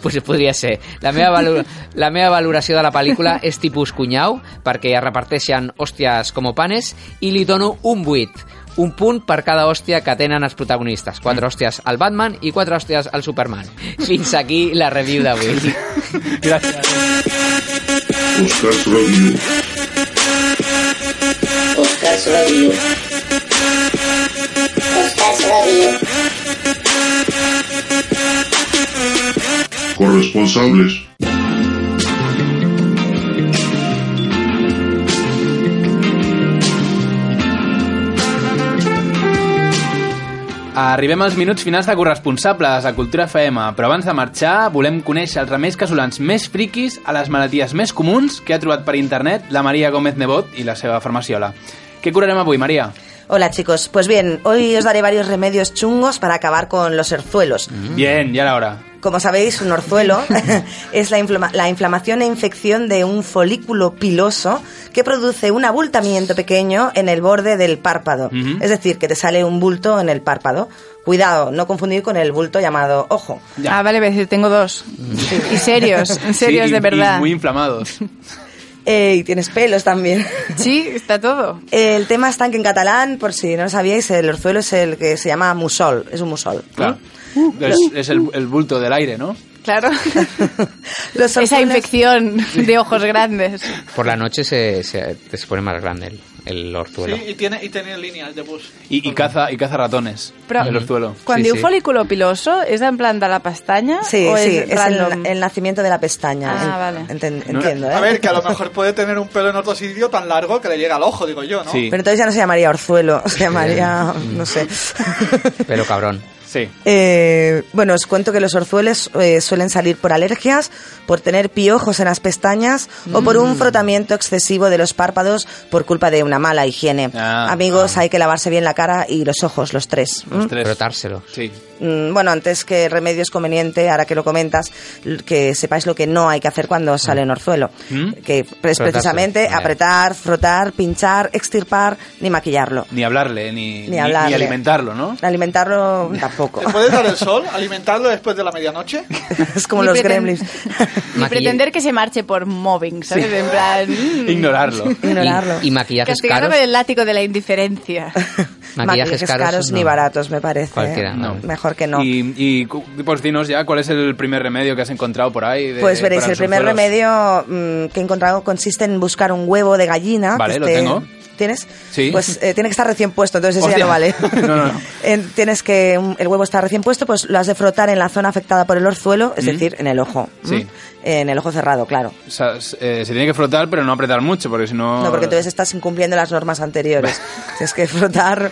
pues podria ser. La meva, valor... la meva valoració de la pel·lícula és tipus cunyau, perquè es reparteixen hòsties com panes, i li dono un 8. Un punt per cada hòstia que tenen els protagonistes. Quatre Mm. hòsties al Batman i quatre hòsties al Superman. Fins aquí la review d'avui. Gràcies. Oscars Review. Oscars Radio. Oscars Radio. Corresponsables. Arribem als minuts finals de corresponsables a Cultura FM, però abans de marxar volem conèixer els remeis casolans més friquis a les malalties més comuns que ha trobat per internet la Maria Gómez Nebot i la seva farmaciola. Què curarem avui, Maria? Hola chicos, pues bien, hoy os daré varios remedios chungos para acabar con los herzuelos. Bien, ya la hora. Como sabéis, un orzuelo es la, inflama- la inflamación e infección de un folículo piloso que produce un abultamiento pequeño en el borde del párpado. Ujú. Es decir, que te sale un bulto en el párpado. Cuidado, no confundir con el bulto llamado ojo. Ah, vale, voy a decir, tengo dos. Y serios, serios Sí, de y- verdad. Y muy inflamados. Eh, y tienes pelos también. Sí, está todo. El tema está en que en catalán, por si no lo sabíais, el orzuelo es el que se llama musol, es un musol. Claro. Uh, Es, es Uh, el, el bulto del aire, ¿no? Claro. Esa infección de ojos grandes. Por la noche se, se, te se pone más grande el, el orzuelo. Sí, y tiene, y tiene líneas de bus. Y, y caza, y caza ratones. Però- el orzuelo. Quan diu folículo piloso, és en plan de la pestanya? Sí, o sí, és es el, random? el nacimiento de la pestaña. Ah, En- vale. enten- entiendo, ¿eh? A ver, que a lo mejor puede tener un pelo en otro sitio tan largo que le llega al ojo, digo yo, ¿no? Pero entonces ya no se llamaría orzuelo, se llamaría, no sé. Pero cabrón. Sí. Eh, bueno, os cuento que los orzueles eh, suelen salir por alergias, por tener piojos en las pestañas o por un Mm. frotamiento excesivo de los párpados por culpa de una mala higiene. Ah, Mm. Amigos, hay que lavarse bien la cara y los ojos, los tres. ¿m? Frotárselo. Sí. Mm, Bueno, antes que remedio es conveniente, ahora que lo comentas, l- que sepáis lo que no hay que hacer cuando sale un orzuelo. Mm? Que es Frotárselo. precisamente Vale. apretar, frotar, pinchar, extirpar, ni maquillarlo. Ni hablarle, ni, ni- ni hablarle. alimentarlo, ¿no? Alimentarlo tampoco. ¿Le puedes dar el sol? ¿Alimentarlo después de la medianoche? es como Ni los preten- gremlins. Y pretender que se marche por mobbing, ¿sabes? En plan... mm, Ignorarlo. Ignorarlo. Y, y maquillajes Castigarlo caros. con el látigo de la indiferencia. Maquillajes caros, no. ni baratos, me parece. Cualquiera, ¿eh? no. Mejor que no. Y, y cu- pues dinos ya cuál es el primer remedio que has encontrado por ahí. de- Pues veréis, el para los primer orzuelos. remedio mm, que he encontrado consiste en buscar un huevo de gallina. Vale, que lo esté- tengo. ¿Tienes? Sí. Pues eh, tiene que estar recién puesto, entonces ese ya no vale. Hostia. No, no, no. En- tienes que un- el huevo está recién puesto, pues lo has de frotar en la zona afectada por el orzuelo, es Mm. decir, en el ojo. ¿m? Sí. En el ojo cerrado, claro. O sea, s- eh, se tiene que frotar, pero no apretar mucho, porque si no... No, porque entonces estás incumpliendo las normas anteriores. Tienes que frotar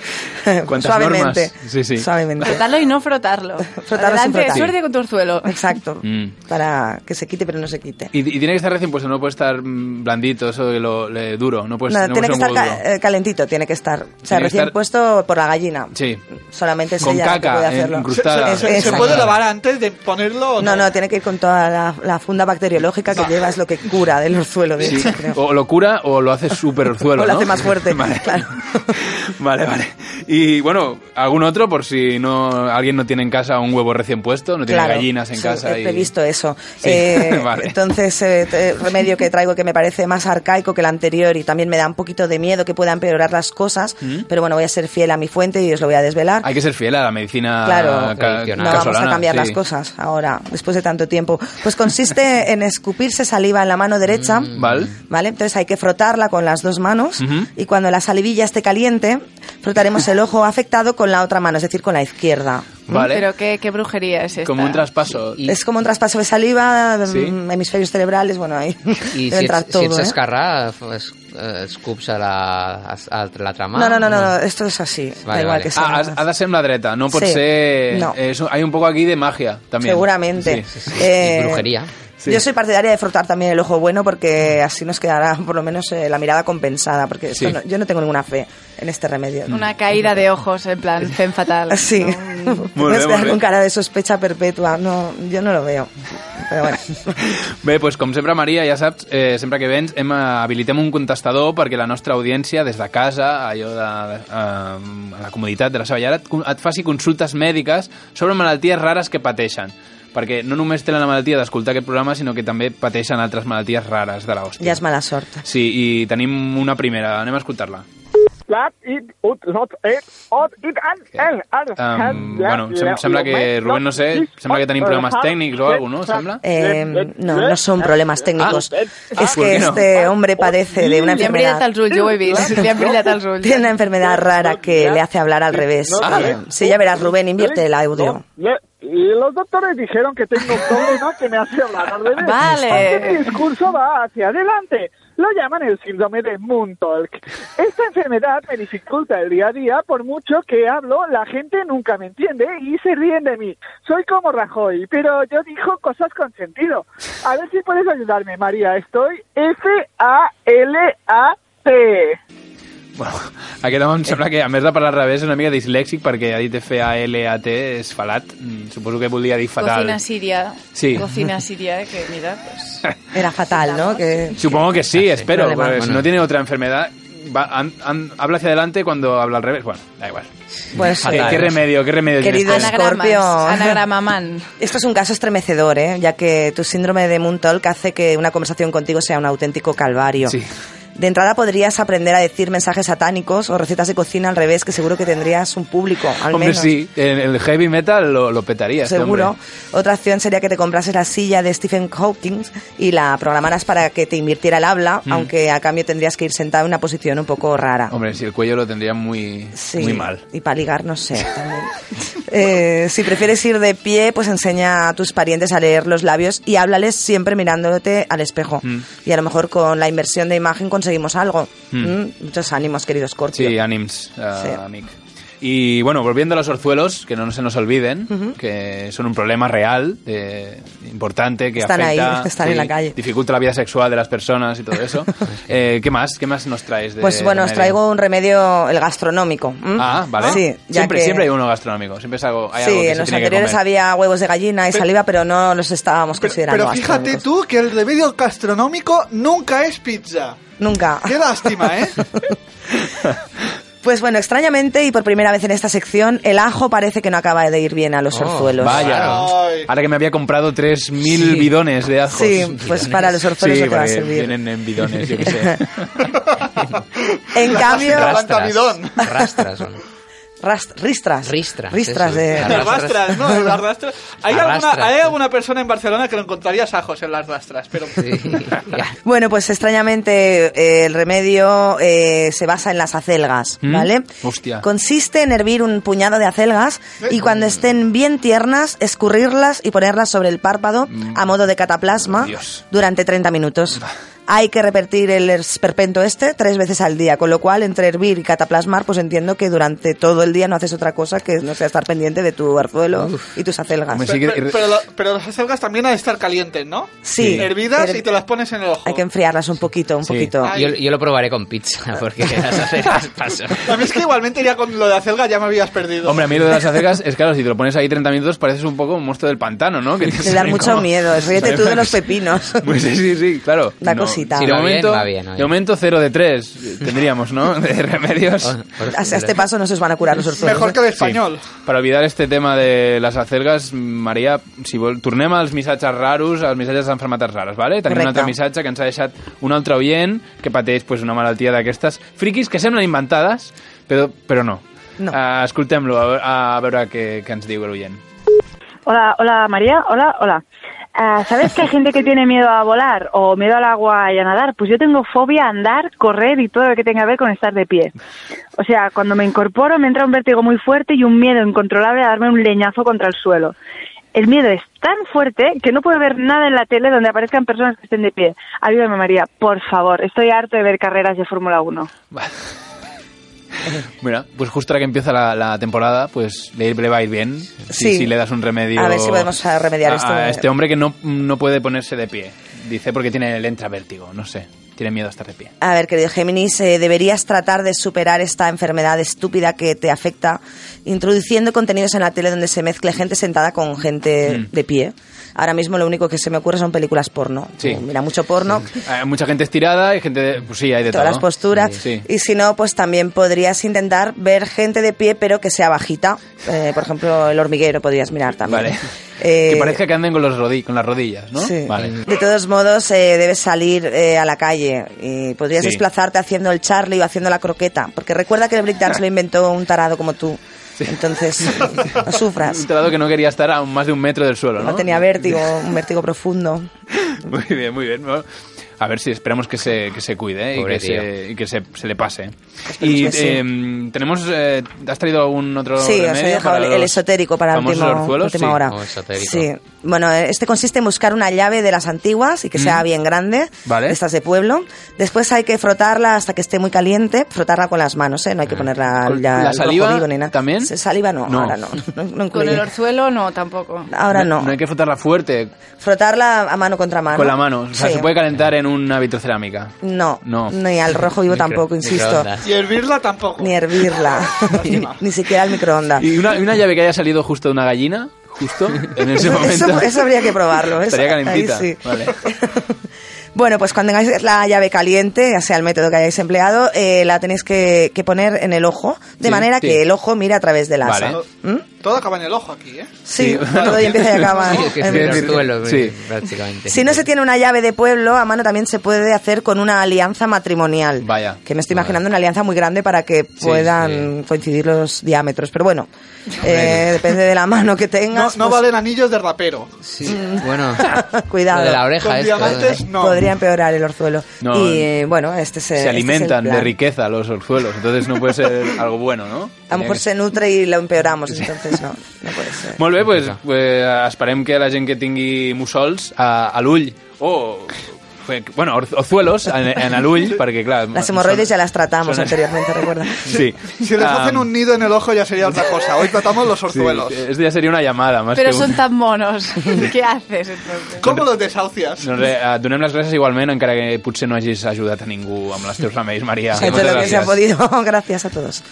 ¿Cuántas suavemente. normas? Sí, sí. Suavemente. Frotarlo y no frotarlo. Frotarlo sin Adelante, frotar. suerte con tu orzuelo. Exacto. Mm. Para que se quite, pero no se quite. Y, y tiene que estar recién puesto, no puede estar mm, blandito, eso de lo, le- duro. No puede No, Pues no, puede tiene que ser estar un huevo ca- eh, calentito, tiene que estar. O sea, Tiene que recién estar- puesto por la gallina. duro. Sí. Solamente es Con ella la que caca, puede eh, hacerlo. incrustada. Es- Se- se- se exacto. ¿Puede lavar antes de ponerlo? o No, no, tiene que ir con toda la, la funda bacteriológica que lleva, es lo que cura del orzuelo, de Sí. hecho, creo. O lo cura o lo hace súper orzuelo, O lo ¿no? hace más fuerte, Vale. claro. Vale, vale. Y bueno, ¿algún otro por si no alguien no tiene en casa un huevo recién puesto? No tiene Claro, gallinas en sí, casa. He y- previsto eso. Sí, Eh, vale. Entonces, eh, te- remedio que traigo que me parece más arcaico que el anterior y también me da un poquito de miedo que pueda empeorar las cosas, ¿Mm? pero bueno, voy a ser fiel a mi fuente y os lo voy a desvelar. Hay que ser fiel a la medicina Claro, ca- no vamos a casolana, cambiar sí. las cosas ahora, después de tanto tiempo. Pues consiste en escupirse saliva en la mano derecha, Vale. ¿vale? Entonces hay que frotarla con las dos manos Ujú. y cuando la salivilla esté caliente, frotaremos el ojo afectado con la otra mano, es decir, con la izquierda. Vale. Pero qué, qué brujería es esta. Como un traspaso. Es como un traspaso de saliva, Sí. mm, hemisferios cerebrales, bueno, ahí I debe si entrar ets, todo, si ets ¿eh? esquerrà, es, eh, escups a la, a, a l'altra mà. No, no, no, no, no, esto es así, da Vale, igual vale. que sea. Ah, ha, ha de ser en la dreta, no por Sí. ser... No. es un- hay un poco aquí de magia también. Seguramente. Sí. Eh, ah, Yo soy partidaria de frotar también el ojo bueno porque así nos quedará por lo menos eh, la mirada compensada, porque esto Sí. Mm. no- yo no tengo ninguna fe en este remedio. Una caída de ojos, en plan, fen fatal. Sí. No, Te Muy bien, puedes muy quedar bien. con cara de sospecha perpetua. No, yo no lo veo. Però bueno. Bé, doncs com sempre, Maria, ja saps, eh, sempre que vens hem, eh, habilitem un contestador perquè la nostra audiència, des de casa, allò de eh, la comoditat de la seva llar, et, et faci consultes mèdiques sobre malalties rares que pateixen. Perquè no només tenen la malaltia d'escoltar aquest programa, sinó que també pateixen altres malalties rares de l'hòstia. Ya es mala suerte. Sí, i tenim una primera, anem a escoltar-la. Plat, it, ut, not, et, ot, it, an, el, ar, Um, bueno, sem sembla que, Rubén, no sé, sembla que tenim problemes tècnics o alguna cosa, no? Sembla? Eh, no, no son problemas técnicos. Ah, es ah, ¿por que qué no? este hombre padece de una Le han brillat enfermedad. els ulls, jo ho he vist. Li han brillat els ulls. Tiene una enfermedad rara que le hace hablar al revés. Ah, Eh, ¿eh? sí, ya verás, Rubén, invierte el audio. Le- los doctores dijeron que tengo un problema que me hace hablar al revés. Vale. Aunque mi discurso va hacia adelante. Lo llaman el síndrome de Moontalk. Esta enfermedad me dificulta el día a día. Por mucho que hablo, la gente nunca me entiende y se ríen de mí. Soy como Rajoy, pero yo digo cosas con sentido. A ver si puedes ayudarme, María. Estoy F-A-L-A-T. Aquest home em sembla que, a més de parlar al revés, és una mica dislèxic perquè ha dit F-A-L-A-T, és falat. Mm, Suposo que volia dir fatal. Cocina siria. Sí. Cocina siria, que mira, pues... Era fatal, ¿no? Que... Supongo que sí, Ah, espero. Problema. porque si Bueno. no tiene otra enfermedad, va- an- an- habla hacia adelante cuando habla al revés. Bueno, da igual. Pues sí. ¿Qué, qué remedio, qué remedio Querido tienes tú? Scorpio. Anagramaman. Esto es un caso estremecedor, ¿eh? ya que tu síndrome de Moontalk hace que una conversación contigo sea un auténtico calvario. De entrada podrías aprender a decir mensajes satánicos o recetas de cocina al revés, que seguro que tendrías un público, al Hombre, menos. sí, en el heavy metal lo, lo petaría este Seguro. hombre. Otra acción sería que te comprases la silla de Stephen Hawking y la programaras para que te invirtiera el habla, Mm. aunque a cambio tendrías que ir sentado en una posición un poco rara. Hombre, si el cuello lo tendría muy, Sí. muy mal. Y para ligar, no sé. también. Eh, si prefieres ir de pie, pues enseña a tus parientes a leer los labios y háblales siempre mirándote al espejo. Mm. Y a lo mejor con la inversión de imagen conseguimos algo. Mm. Mm, Muchos ánimos, queridos Scorpio. Sí, ànims, eh, Sí. amic. Y bueno, volviendo a los orzuelos, que no se nos olviden, que son un problema real, eh, importante, que Están ahí, afecta, están en la calle. dificulta la vida sexual de las personas y todo eso. Eh, ¿Qué más? ¿Qué más nos traes? De Pues bueno, os remedio? traigo un remedio, el gastronómico. ¿m? Ah, vale. Sí, ya siempre, que- siempre hay uno gastronómico, siempre es algo, hay algo Sí, que en se los tiene que anteriores comer. había huevos de gallina y saliva, pero no los estábamos considerando Pero fíjate gastronómicos. tú que el remedio gastronómico nunca es pizza. Nunca. Qué lástima, ¿eh? Pues bueno, extrañamente y por primera vez en esta sección, el ajo parece que no acaba de ir bien a los orzuelos. Oh, Vaya, ahora que me había comprado 3.000 bidones de ajos. Sí, pues para los orzuelos Sí, lo que va a porque servir. Vienen en bidones, yo qué sé. En La cambio... planta bidón. Rastras, Rast- ristras. Ristras. Ristras de... Las rastras, ¿no? Las rastras. Hay, Las alguna, rastras, hay alguna persona en Barcelona que lo encontrarías ajos en las rastras, pero... Bueno, pues extrañamente eh, el remedio eh, se basa en las acelgas, ¿Mm? ¿vale? Hostia. Consiste en hervir un puñado de acelgas y cuando estén bien tiernas, escurrirlas y ponerlas sobre el párpado a modo de cataplasma Mm. Dios. durante 30 minutos. Hay que repetir el esperpento este tres veces al día, con lo cual entre hervir y cataplasmar, pues entiendo que durante todo el día no haces otra cosa que no sea estar pendiente de tu arzuelo y tus acelgas. Pero, pero- pero lo- pero las acelgas también han de estar calientes, ¿no? Sí. Hervidas Her- y te las pones en el ojo. Hay que enfriarlas un poquito, un poquito. Yo, yo lo probaré con pizza, porque las aceras paso. A mí es que igualmente ya con lo de acelga ya me habías perdido. Hombre, a mí lo de las acelgas es claro, si te lo pones ahí 30 minutos pareces un poco un monstruo del pantano, ¿no? Que Le da mucho miedo. Ríete tú de los pepinos. Pues sí, sí, sí, claro. Da cosita. de Va bien, momento, va bien, va de bien. momento 0 de 3 tendríamos, ¿no? De Ah, remedios. A a este paso no se os van a curar los orzuelos. ¿eh? Sí. Para olvidar este tema de les acelgues, Maria, si vol, tornem als missatges raros, als missatges d'enfermetats rares, ¿vale? Tenim un Correcte. altre missatge que ens ha deixat un altre oient que pateix pues, una malaltia d'aquestes friquis que semblen inventades, però, però no. No. Uh, Escoltem-lo, a, veure- a veure què, què ens diu l'oient. Hola, hola María, hola, hola. Ah, ¿Sabes que hay gente que tiene miedo a volar o miedo al agua y a nadar? Pues yo tengo fobia a andar, correr y todo lo que tenga que ver con estar de pie. O sea, cuando me incorporo me entra un vértigo muy fuerte y un miedo incontrolable a darme un leñazo contra el suelo. El miedo es tan fuerte que no puedo ver nada en la tele donde aparezcan personas que estén de pie. Ayúdame María, por favor, estoy harto de ver carreras de Fórmula 1. Mira, pues justo ahora que empieza la, la temporada, pues le, le va a ir bien. Si, Sí. si le das un remedio. A ver si podemos ah, remediar a- esto. a este hombre que no, no puede ponerse de pie. Dice porque tiene el vértigo, no sé. Tiene miedo a estar de pie. A ver, querido Géminis, eh, deberías tratar de superar esta enfermedad estúpida que te afecta introduciendo contenidos en la tele donde se mezcle gente sentada con gente Mm. de pie. Ahora mismo lo único que se me ocurre son películas porno. Sí. Como Mira mucho porno, Hay mucha gente estirada, hay gente. de- pues sí, hay de todas todo. las posturas. Sí. Y si no, pues también podrías intentar ver gente de pie pero que sea bajita. Eh, por ejemplo, el hormiguero podrías mirar también. Vale. Eh, que parezca que anden con, los rodi- con las rodillas, ¿no? Sí. Vale. De todos modos, eh, debes salir eh, a la calle. Y podrías Sí. desplazarte haciendo el Charlie o haciendo la croqueta. Porque recuerda que el breakdance lo inventó un tarado como tú. Entonces, no sufras. Un telado que no quería estar a un- más de un metro del suelo, ¿no? No tenía vértigo, un vértigo profundo. Muy bien, muy bien. Bueno, A ver si esperamos que se, que se cuide ¿eh? y Pobre que, se, tío. y que se, se le pase. Y que sí. eh, tenemos, eh, ¿has traído algún otro Sí, os he remedio dejado para el, los esotérico para famosos última, orzuelos? última Sí. hora. Sí. Bueno, eh, este consiste en buscar una llave de las antiguas y que sea Mm. bien grande, Vale. de estas de pueblo. Después hay que frotarla hasta que esté muy caliente, frotarla con las manos, ¿eh? No hay que ponerla Mm. ¿Con ya la al rojo saliva vivo ni nada. también? Sí, Saliva no, No. ahora no. no, no Con incluye. el orzuelo no, tampoco. Ahora no. No hay que frotarla fuerte, Frotarla a mano contra mano. con la mano. O sea, Sí. se puede calentar en una vitrocerámica. No, No. ni al rojo vivo Micro- tampoco, insisto. microondas. Y hervirla tampoco. Ni hervirla. ni, ni siquiera al microondas. Y una, y una llave que haya salido justo de una gallina, justo en ese Eso- momento. eso habría que probarlo, eso. Estaría calentita. Ahí sí. Vale. Bueno, pues cuando tengáis la llave caliente, ya sea el método que hayáis empleado, eh, la tenéis que, que poner en el ojo, de Sí, manera sí. que el ojo mire a través del asa. Vale. ¿Mm? Todo acaba en el ojo aquí, ¿eh? Sí, todo y empieza y acaba. Sí, que en- es el anzuelo, Sí. prácticamente. Si no se tiene una llave de pueblo, a mano también se puede hacer con una alianza matrimonial. Vaya. Que me estoy imaginando una alianza muy grande para que puedan coincidir los diámetros. Pero bueno, eh, depende de la mano que No, tengas. no pues, Mm. valen anillos de rapero. Sí, bueno. Cuidado. Lo de la oreja Con esto, diamantes, ¿eh? no. Podría empeorar el orzuelo. No, y eh, bueno, este es, este Se es el alimentan de plan. riqueza los orzuelos, entonces no puede ser algo bueno, no? A lo mejor se nutre y lo empeoramos, entonces no, no puede ser. Molt bé, doncs, eh, esperem que la gent que tingui mussols a, a l'ull o... fe- Bueno, orz- orzuelos en, en l'ull, perquè clar... Las hemorroides ya las tratamos son- anteriormente, recuerda. Sí. Si les Ah, hacen un nido en el ojo ya sería otra cosa. Hoy tratamos los orzuelos. Sí, esto ya sería una llamada más Pero que un... son tan monos. ¿Qué haces entonces? ¿Cómo los desahucias? Doncs res, eh, donem les gràcies igualment, encara que potser no hagis ajudat a ningú amb les teus remeis, Maria. Entre Moltes lo que se ha gràcies. podido. Gracias a todos.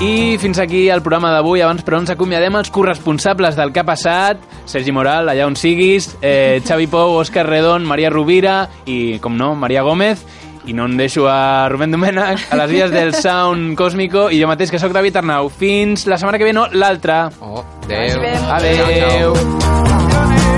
I fins aquí el programa d'avui. Abans, però, ens acomiadem els corresponsables del que ha passat. Sergi Moral, allà on siguis, eh, Xavi Pou, Òscar Redon, Maria Rovira i, com no, Maria Gómez. I no em deixo a Rubén Domènech, a les vies del Sound Cósmico i jo mateix, que sóc David Arnau. Fins la setmana que ve, no, l'altra. Oh, adeu. Ciao, Adeu. ciao.